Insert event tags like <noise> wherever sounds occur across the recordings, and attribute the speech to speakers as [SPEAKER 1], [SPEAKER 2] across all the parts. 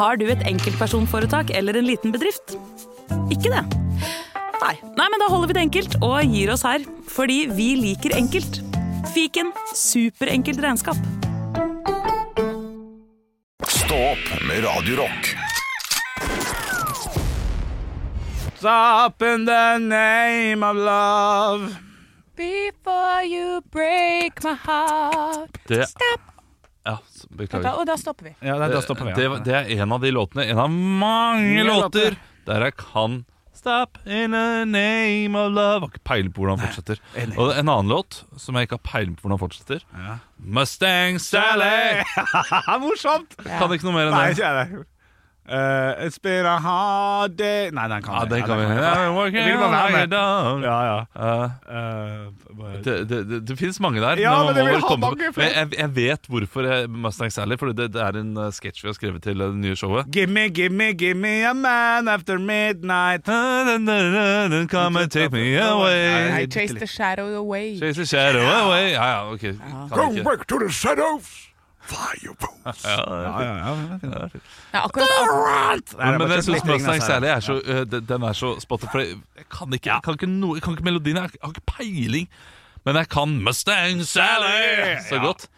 [SPEAKER 1] Har du et enkeltpersonforetak eller en liten bedrift? Ikke det? Nei. Nei, men da holder vi det enkelt og gir oss her. Fordi vi liker enkelt. Fiken superenkelt regnskap.
[SPEAKER 2] Stå opp med Radio Rock.
[SPEAKER 3] Stop in the name of love.
[SPEAKER 4] Before you break my heart
[SPEAKER 5] Det,
[SPEAKER 4] Stopp!
[SPEAKER 5] ja, s-
[SPEAKER 4] Da,
[SPEAKER 5] beklager.
[SPEAKER 4] og da stopper vi.
[SPEAKER 3] Ja, det, da stopper vi.
[SPEAKER 5] Det,
[SPEAKER 3] Ja.
[SPEAKER 5] det er en av de låtene, en av mange
[SPEAKER 3] Mange
[SPEAKER 5] låter,
[SPEAKER 3] låter.
[SPEAKER 5] der jeg kan Stop in the name of love. Har ikke peiling på hvordan den fortsetter.
[SPEAKER 3] enig.
[SPEAKER 5] Og en annen låt som jeg ikke har peiling på hvordan den fortsetter. Mustang Sally!
[SPEAKER 3] Haha, Morsomt!
[SPEAKER 5] Kan ikke noe mer
[SPEAKER 3] Nei,
[SPEAKER 5] enn det.
[SPEAKER 3] ikke jeg det. Eh, it's been a hard day Nei, den kan
[SPEAKER 5] Ja,
[SPEAKER 3] vi.
[SPEAKER 5] den
[SPEAKER 3] Ja,
[SPEAKER 5] kan vi.
[SPEAKER 3] vi. Jeg vil bare være med. Ja, ja.
[SPEAKER 5] Uh,
[SPEAKER 3] Eh, bare-
[SPEAKER 5] det, det, det, det finnes mange der.
[SPEAKER 3] Ja, men
[SPEAKER 5] man
[SPEAKER 3] det vil
[SPEAKER 5] må bare
[SPEAKER 3] ha
[SPEAKER 5] komme på-
[SPEAKER 3] mange flere.
[SPEAKER 5] men jeg, jeg vet hvorfor jeg, Mustang Sally, for det, det er en eh, sketsj vi har skrevet til eh, det nye showet.
[SPEAKER 3] Gimme, gimme, gimme a man after midnight.
[SPEAKER 5] Come and take me away.
[SPEAKER 4] I chase the shadow away.
[SPEAKER 5] Chase the shadow away. Ja, ja, ok. Kan ikke.
[SPEAKER 2] back to the shadows. Fire bones.
[SPEAKER 3] Ja, ja, ja, det er fint.
[SPEAKER 4] Nei,
[SPEAKER 3] Nei,
[SPEAKER 4] akkurat,
[SPEAKER 3] det er
[SPEAKER 5] Men
[SPEAKER 3] bare
[SPEAKER 5] jeg syns
[SPEAKER 3] kjøttbiter,
[SPEAKER 5] Mustang
[SPEAKER 3] altså.
[SPEAKER 5] Sally er så, eh, den- den er så Spotify Jeg kan ikke, jeg kan ikke, noe- jeg kan ikke melodien, jeg har ikke peiling. Men jeg kan Mustang Sally så godt.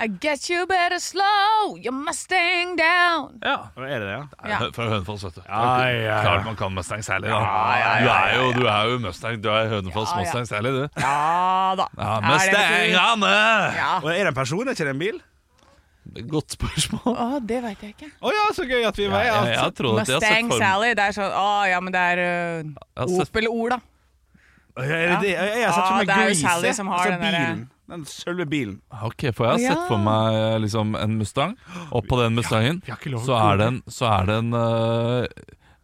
[SPEAKER 4] I guess you better slow your Mustang down.
[SPEAKER 5] Ja.
[SPEAKER 3] Hva Er det det, ja?
[SPEAKER 4] Ja.
[SPEAKER 5] Fra Hønefoss, vet du.
[SPEAKER 3] Ja, ja, ja.
[SPEAKER 5] Klart man kan Mustang Sally, da.
[SPEAKER 3] ja,
[SPEAKER 5] Du er jo, du er jo Mustang, du er Hønefoss
[SPEAKER 4] Ja, ja.
[SPEAKER 5] Mustang Sally, du.
[SPEAKER 4] Ja da.
[SPEAKER 5] Ja,
[SPEAKER 4] Ja, det betyr-
[SPEAKER 5] Mustang Anne!
[SPEAKER 4] Ja.
[SPEAKER 3] Og er det en person, er ikke det en bil?
[SPEAKER 5] Godt spørsmål.
[SPEAKER 4] Å, det veit jeg ikke.
[SPEAKER 3] Å ja, så gøy at vi var
[SPEAKER 5] Jeg, jeg,
[SPEAKER 3] ja.
[SPEAKER 5] jeg tror at jeg har sett
[SPEAKER 4] Mustang
[SPEAKER 5] altså for meg
[SPEAKER 4] Sally, det er sånn Å ja, men det er
[SPEAKER 5] Jeg har
[SPEAKER 4] uh,
[SPEAKER 5] sett-
[SPEAKER 4] Opel-ord, da.
[SPEAKER 3] Er det det? Jeg, jeg har sett
[SPEAKER 4] Ja,
[SPEAKER 3] for meg
[SPEAKER 4] det er jo
[SPEAKER 3] grise.
[SPEAKER 4] Sally som har
[SPEAKER 3] Altså,
[SPEAKER 4] den derre-
[SPEAKER 3] bilen. Den selve bilen.
[SPEAKER 5] Ok, for jeg har sett for meg eh, liksom en Mustang, og på den Mustangen
[SPEAKER 3] vi har ikke lov å
[SPEAKER 5] så er det en, så er det en eh,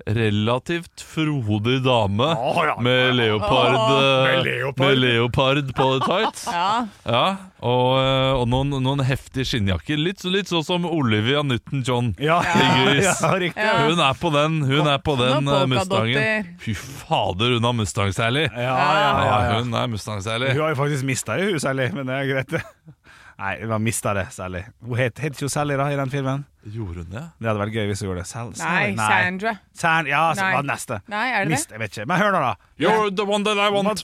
[SPEAKER 5] relativt frodig dame
[SPEAKER 3] ja.
[SPEAKER 5] med leopard eh,
[SPEAKER 3] Med leopard.
[SPEAKER 5] Med leopard
[SPEAKER 3] <laughs>
[SPEAKER 5] på tights.
[SPEAKER 4] Ja.
[SPEAKER 5] Ja, og, eh, og noen, noen heftige skinnjakker. Litt, så- litt sånn som Olivia Newton-John.
[SPEAKER 3] <laughs> Ja,
[SPEAKER 5] Gris.
[SPEAKER 3] ja riktig.
[SPEAKER 4] Ja.
[SPEAKER 5] Hun er på den, hun er på den eh,
[SPEAKER 4] polkadotter.
[SPEAKER 5] Mustangen. Fy fader, hun har Mustang Sally.
[SPEAKER 3] Ja, ja, ja, ja.
[SPEAKER 5] Hun er Mustang Sally.
[SPEAKER 3] Hun har jo faktisk mista det, hun Sally, men det er greit, <laughs> det. Nei, hun har mista det, Sally. Hun het, het ikke hun Sally da, i den filmen?
[SPEAKER 5] Gjorde hun det?
[SPEAKER 3] Det hadde vært gøy hvis hun gjorde det. Sal,
[SPEAKER 4] Nei,
[SPEAKER 3] Sally?
[SPEAKER 4] Sandra.
[SPEAKER 3] Sand, ja, så
[SPEAKER 4] Nei.
[SPEAKER 3] var det neste.
[SPEAKER 4] Nei, er det det?
[SPEAKER 3] Mist, jeg vet ikke. Men hør nå, da.
[SPEAKER 5] You're the one that I want.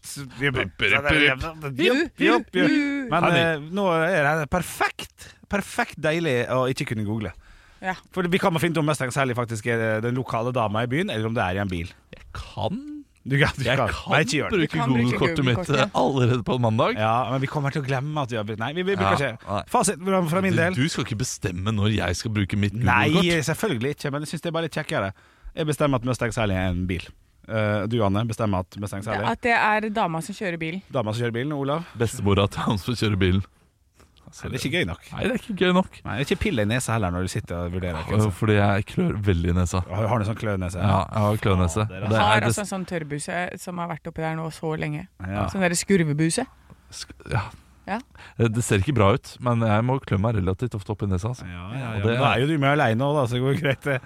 [SPEAKER 3] Jupp, jupp, jupp. Men eh, nå er det perfekt Perfekt deilig å ikke kunne google.
[SPEAKER 4] Ja.
[SPEAKER 3] For vi kan finne ut om Mustang Sally faktisk er den lokale dama i byen, eller om det er i en bil.
[SPEAKER 5] Kan
[SPEAKER 3] Du kan, du
[SPEAKER 5] Jeg
[SPEAKER 3] kan.
[SPEAKER 5] kan
[SPEAKER 3] Nei, ikke gjør det.
[SPEAKER 5] bruke
[SPEAKER 4] Du kan bruke
[SPEAKER 5] Google-kortet mitt
[SPEAKER 4] Google-kortet.
[SPEAKER 5] eh, allerede på en mandag.
[SPEAKER 3] Ja, men vi kommer til å glemme at vi har brukt Nei, vi vi bruker
[SPEAKER 5] Ja,
[SPEAKER 3] ikke
[SPEAKER 5] nei.
[SPEAKER 3] Fasit fra fra min del.
[SPEAKER 5] Du, du skal ikke bestemme når jeg skal bruke mitt
[SPEAKER 3] Nei,
[SPEAKER 5] Google-kort.
[SPEAKER 3] selvfølgelig ikke, men jeg syns det er bare litt kjekkere. Jeg bestemmer at Mustang Sally er en bil. Eh, du, Anne, bestemmer at Mustang Sally
[SPEAKER 4] At det er dama som kjører bilen.
[SPEAKER 3] Dama som kjører bilen, og Olav.
[SPEAKER 5] Bestemora til han som kjører bilen.
[SPEAKER 3] Altså, Det er ikke gøy nok.
[SPEAKER 5] Nei, det er ikke gøy nok.
[SPEAKER 3] Nei, Ikke pill deg i nesa heller når du sitter og vurderer. ikke
[SPEAKER 5] Eh,
[SPEAKER 3] sant?
[SPEAKER 5] Fordi jeg klør veldig i nesa.
[SPEAKER 3] Har har du sånn klønese?
[SPEAKER 5] Ja, jeg har klønese.
[SPEAKER 3] Fader,
[SPEAKER 5] Det
[SPEAKER 4] Har
[SPEAKER 5] er
[SPEAKER 4] altså
[SPEAKER 5] det
[SPEAKER 4] en sånn tørrbuse som har vært oppi der nå så lenge.
[SPEAKER 3] Ja.
[SPEAKER 4] Sånn derre skurvebuse.
[SPEAKER 5] sk- ja.
[SPEAKER 4] Ja.
[SPEAKER 5] Eh, Det ser ikke bra ut, men jeg må klø meg relativt ofte opp i nesa. Altså.
[SPEAKER 3] Ja, ja, ja.
[SPEAKER 5] Og det
[SPEAKER 3] Men Da er jo du med aleine òg, da, så det går greit. det.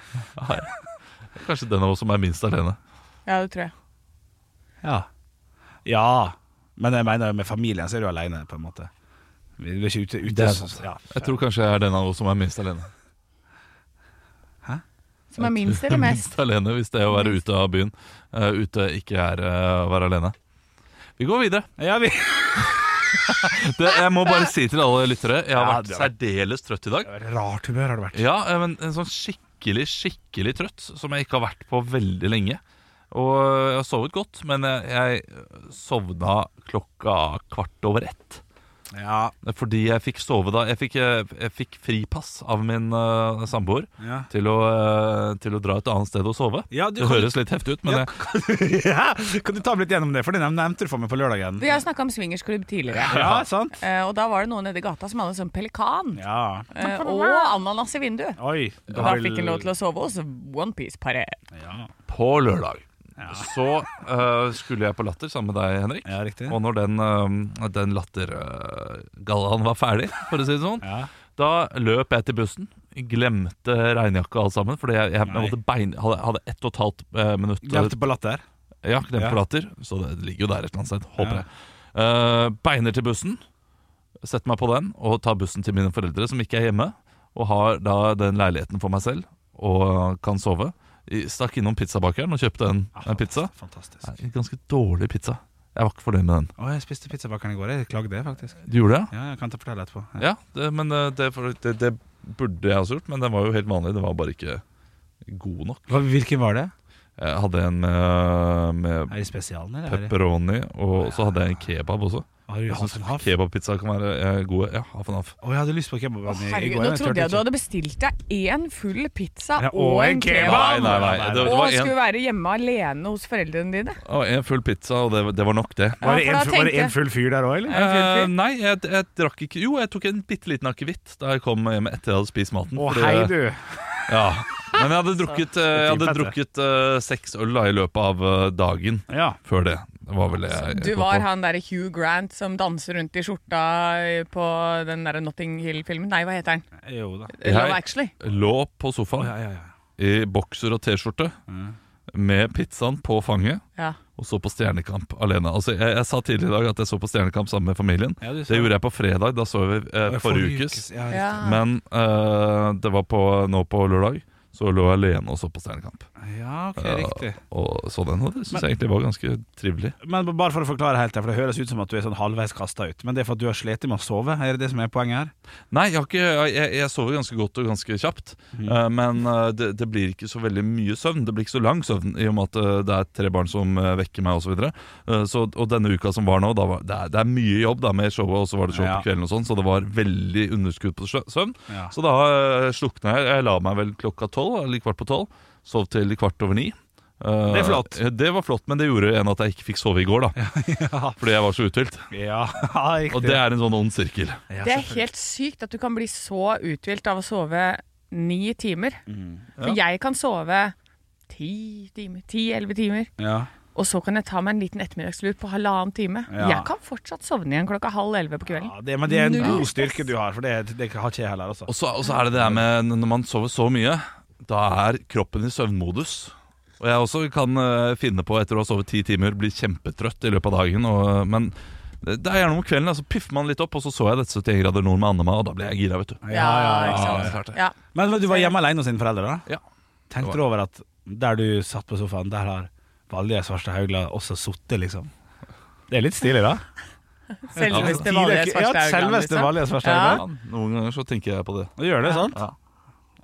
[SPEAKER 5] Kanskje den av oss som er minst alene.
[SPEAKER 4] Ja, det tror jeg.
[SPEAKER 3] Ja. ja. Men jeg mener med familien så er du aleine, på en måte. Vi er ikke ute, ute
[SPEAKER 5] Det er
[SPEAKER 3] så-
[SPEAKER 5] sant.
[SPEAKER 3] ja.
[SPEAKER 5] Jeg tror kanskje jeg er den av oss som er minst alene.
[SPEAKER 4] Som er minst eller
[SPEAKER 5] <laughs>
[SPEAKER 4] mest.
[SPEAKER 5] Minst alene, hvis det er å være ute av byen. eh, ute ikke er eh, å være alene. Vi går videre.
[SPEAKER 3] Ja, vi
[SPEAKER 5] Det, jeg må bare si til alle lyttere Jeg har
[SPEAKER 3] Ja,
[SPEAKER 5] vært
[SPEAKER 3] det har
[SPEAKER 5] særdeles trøtt i dag.
[SPEAKER 3] Rart humør har det vært.
[SPEAKER 5] Ja, eh, men en sånn skikkelig, skikkelig trøtt som jeg ikke har vært på veldig lenge. Og jeg har sovet godt, men jeg, jeg sovna klokka kvart over ett.
[SPEAKER 3] Ja,
[SPEAKER 5] Fordi jeg fikk sove da Jeg fikk, eh, jeg fikk fripass av min eh, samboer
[SPEAKER 3] Ja.
[SPEAKER 5] til, å, eh, til å dra et annet sted og sove.
[SPEAKER 3] Ja, du
[SPEAKER 5] det
[SPEAKER 3] kan-
[SPEAKER 5] høres litt heftig ut, men
[SPEAKER 3] Ja,
[SPEAKER 5] jeg,
[SPEAKER 3] kan, <laughs> ja, kan du ta meg litt gjennom det? For den nevnte du for meg på lørdagen.
[SPEAKER 4] Vi har snakka om swingersklubb tidligere.
[SPEAKER 3] Ja, sant?
[SPEAKER 4] Eh, Og da var det noen nedi gata som hadde en sånn pelikan
[SPEAKER 3] Ja.
[SPEAKER 4] eh, og ananas i vinduet.
[SPEAKER 3] Oi.
[SPEAKER 4] Og Da fikk han lov til å sove hos Onepiece-paret.
[SPEAKER 3] Ja,
[SPEAKER 5] på lørdag så eh, skulle jeg på Latter sammen med deg, Henrik.
[SPEAKER 3] ja riktig.
[SPEAKER 5] Og når den, eh, den lattergallaen var ferdig, for å si det sånn,
[SPEAKER 3] Ja.
[SPEAKER 5] da løp jeg til bussen. Glemte regnjakke og alt sammen, fordi jeg, jeg, jeg
[SPEAKER 3] Nei.
[SPEAKER 5] måtte bein, hadde, hadde ett og et halvt eh, minutt eh,
[SPEAKER 3] Glemte på latter.
[SPEAKER 5] Ja, knepp
[SPEAKER 3] Ja.
[SPEAKER 5] på latter. Så det ligger jo der et eller annet sted, håper
[SPEAKER 3] Ja.
[SPEAKER 5] jeg. Eh, beiner til bussen, setter meg på den og tar bussen til mine foreldre, som ikke er hjemme. Og har da den leiligheten for meg selv og kan sove. Jeg stakk innom pizzabakeren og kjøpte en,
[SPEAKER 3] Ah.
[SPEAKER 5] en pizza.
[SPEAKER 3] Fantastisk.
[SPEAKER 5] Nei, En ganske dårlig pizza. Jeg var ikke fornøyd med den.
[SPEAKER 3] Å, jeg spiste pizzabakeren i går. Jeg klagde, faktisk.
[SPEAKER 5] Du gjorde det?
[SPEAKER 3] Ja, jeg kan ta fortelle etterpå.
[SPEAKER 5] Ja, det, men eh, det, for- det, det burde jeg også gjort, men den var jo helt vanlig. Den var bare ikke god nok.
[SPEAKER 3] Hva, hvilken var det?
[SPEAKER 5] Jeg hadde en med, med
[SPEAKER 3] Er det spesialen, eller? er det-
[SPEAKER 5] pepperoni, og så hadde jeg en kebab også.
[SPEAKER 3] Har du
[SPEAKER 5] Jeg
[SPEAKER 3] hatt
[SPEAKER 5] synes
[SPEAKER 3] en haff?
[SPEAKER 5] Kebabpizza kan være eh, gode. Ja, half and half.
[SPEAKER 3] Å, jeg hadde lyst på kebab i går.
[SPEAKER 4] Herregud,
[SPEAKER 3] men
[SPEAKER 4] nå
[SPEAKER 3] jeg turte
[SPEAKER 4] trodde jeg du
[SPEAKER 3] ikke.
[SPEAKER 4] hadde bestilt deg én full pizza
[SPEAKER 3] Ja,
[SPEAKER 4] og en
[SPEAKER 5] Nei,
[SPEAKER 4] kebab.
[SPEAKER 5] nei, nei.
[SPEAKER 3] Nei,
[SPEAKER 5] Det,
[SPEAKER 3] nei.
[SPEAKER 5] det
[SPEAKER 4] Og
[SPEAKER 5] var en,
[SPEAKER 4] skulle være hjemme alene hos foreldrene dine.
[SPEAKER 5] å, en full pizza, og det, det var nok, det.
[SPEAKER 3] Var det
[SPEAKER 4] Ja, for da
[SPEAKER 3] en, var det
[SPEAKER 4] tenkte jeg-
[SPEAKER 3] en full fyr der òg, eller?
[SPEAKER 5] Eh, nei, jeg, jeg drakk ikke Jo, jeg tok en bitte liten akevitt da jeg kom hjem etter jeg hadde spist maten.
[SPEAKER 3] Å,
[SPEAKER 5] fordi-
[SPEAKER 3] hei, du.
[SPEAKER 5] Ja. Men jeg hadde drukket, eh, jeg hadde drukket eh, seks øl da, i løpet av eh, dagen
[SPEAKER 3] Ja.
[SPEAKER 5] før det. Det var vel det jeg, jeg
[SPEAKER 4] Du
[SPEAKER 5] kom
[SPEAKER 4] var
[SPEAKER 5] på.
[SPEAKER 4] han derre Hugh Grant som danser rundt i skjorta på den derre Notting Hill-filmen. Nei, hva heter den?
[SPEAKER 3] Jo da.
[SPEAKER 5] Jeg-
[SPEAKER 4] Love Actually.
[SPEAKER 5] Lå på sofaen
[SPEAKER 3] Ja, ja, ja.
[SPEAKER 5] i bokser og T-skjorte med pizzaen på fanget.
[SPEAKER 4] Ja.
[SPEAKER 5] og så på Stjernekamp alene. Altså, jeg, jeg sa tidligere i dag at jeg så på Stjernekamp sammen med familien.
[SPEAKER 3] Ja, du
[SPEAKER 5] det
[SPEAKER 3] sa det.
[SPEAKER 5] gjorde jeg på fredag, da så vi eh, forrige ukes.
[SPEAKER 3] Ja,
[SPEAKER 4] Ja.
[SPEAKER 5] Men eh, det var på, nå på lørdag, så lå jeg alene og så på Stjernekamp.
[SPEAKER 3] riktig. ja, ok,
[SPEAKER 5] Eh,
[SPEAKER 3] riktig.
[SPEAKER 5] og så den, og det syns jeg egentlig var ganske trivelig.
[SPEAKER 3] Men bare for å forklare helt her, for det høres ut som at du er sånn halvveis kasta ut. Men det er for at du har slitt med å sove, er det det som er poenget her?
[SPEAKER 5] Nei, jeg, har ikke, jeg, jeg- jeg sover ganske godt og ganske kjapt.
[SPEAKER 3] Mm.
[SPEAKER 5] eh, men eh, det, det blir ikke så veldig mye søvn. Det blir ikke så lang søvn, i og med at eh, det er tre barn som eh, vekker meg osv. Og, uh, og denne uka som var nå, da var, det, er, det er mye jobb da, med showet, og så var det show
[SPEAKER 3] Ja.
[SPEAKER 5] på kvelden, og sånn, så det var veldig underskudd på sjø- søvn.
[SPEAKER 3] Ja.
[SPEAKER 5] Så da uh, slukna jeg. Jeg la meg vel klokka tolv, eller kvart på tolv. Sov til kvart over ni. Eh,
[SPEAKER 3] Det er flott.
[SPEAKER 5] eh, Det var flott, men det gjorde igjen at jeg ikke fikk sove i går, da.
[SPEAKER 3] <laughs>
[SPEAKER 5] Fordi jeg var så uthvilt.
[SPEAKER 3] Ja, <laughs> riktig.
[SPEAKER 5] Og det er en sånn ond sirkel.
[SPEAKER 3] Ja,
[SPEAKER 4] Det er helt sykt at du kan bli så uthvilt av å sove ni timer.
[SPEAKER 5] Mm.
[SPEAKER 4] For jeg kan sove ti timer, ti-elleve timer,
[SPEAKER 3] ja.
[SPEAKER 4] og så kan jeg ta meg en liten ettermiddagslur på halvannen time.
[SPEAKER 3] Ja.
[SPEAKER 4] Jeg kan fortsatt sovne igjen klokka halv elleve på kvelden.
[SPEAKER 3] Ja, det, men det er en
[SPEAKER 4] Null
[SPEAKER 3] god
[SPEAKER 4] stress.
[SPEAKER 3] styrke du har, for det, det har ikke jeg heller. Altså.
[SPEAKER 5] Og så, og så er det det der med når man sover så mye, da er kroppen i søvnmodus. Og jeg også kan eh, finne på etter å ha sovet ti timer, bli kjempetrøtt i løpet av dagen. Og, men det det er gjerne om kvelden, da, så piffer man litt opp, og så så jeg dette 71 grader nord med Anne-Ma, og da ble jeg gira, vet du.
[SPEAKER 3] Ja, ja, ja,
[SPEAKER 4] ikke sant?
[SPEAKER 5] det er klart det.
[SPEAKER 4] Ja.
[SPEAKER 3] Men du var hjemme alene hos dine foreldre, da?
[SPEAKER 5] Ja.
[SPEAKER 3] Tenkte du over at der du satt på sofaen, der har Valje Svarstad Haugla også sittet, liksom? Det er litt stilig, da.
[SPEAKER 4] Selveste
[SPEAKER 3] Tidligere-
[SPEAKER 4] Valje Svarstad
[SPEAKER 3] Ja,
[SPEAKER 4] Haugland,
[SPEAKER 3] selveste
[SPEAKER 4] liksom.
[SPEAKER 3] Valje Svarstad
[SPEAKER 4] Ja.
[SPEAKER 3] Haugla.
[SPEAKER 5] Ja, noen ganger så tenker jeg på det.
[SPEAKER 3] Du gjør <laughs> det, sant?
[SPEAKER 5] Ja.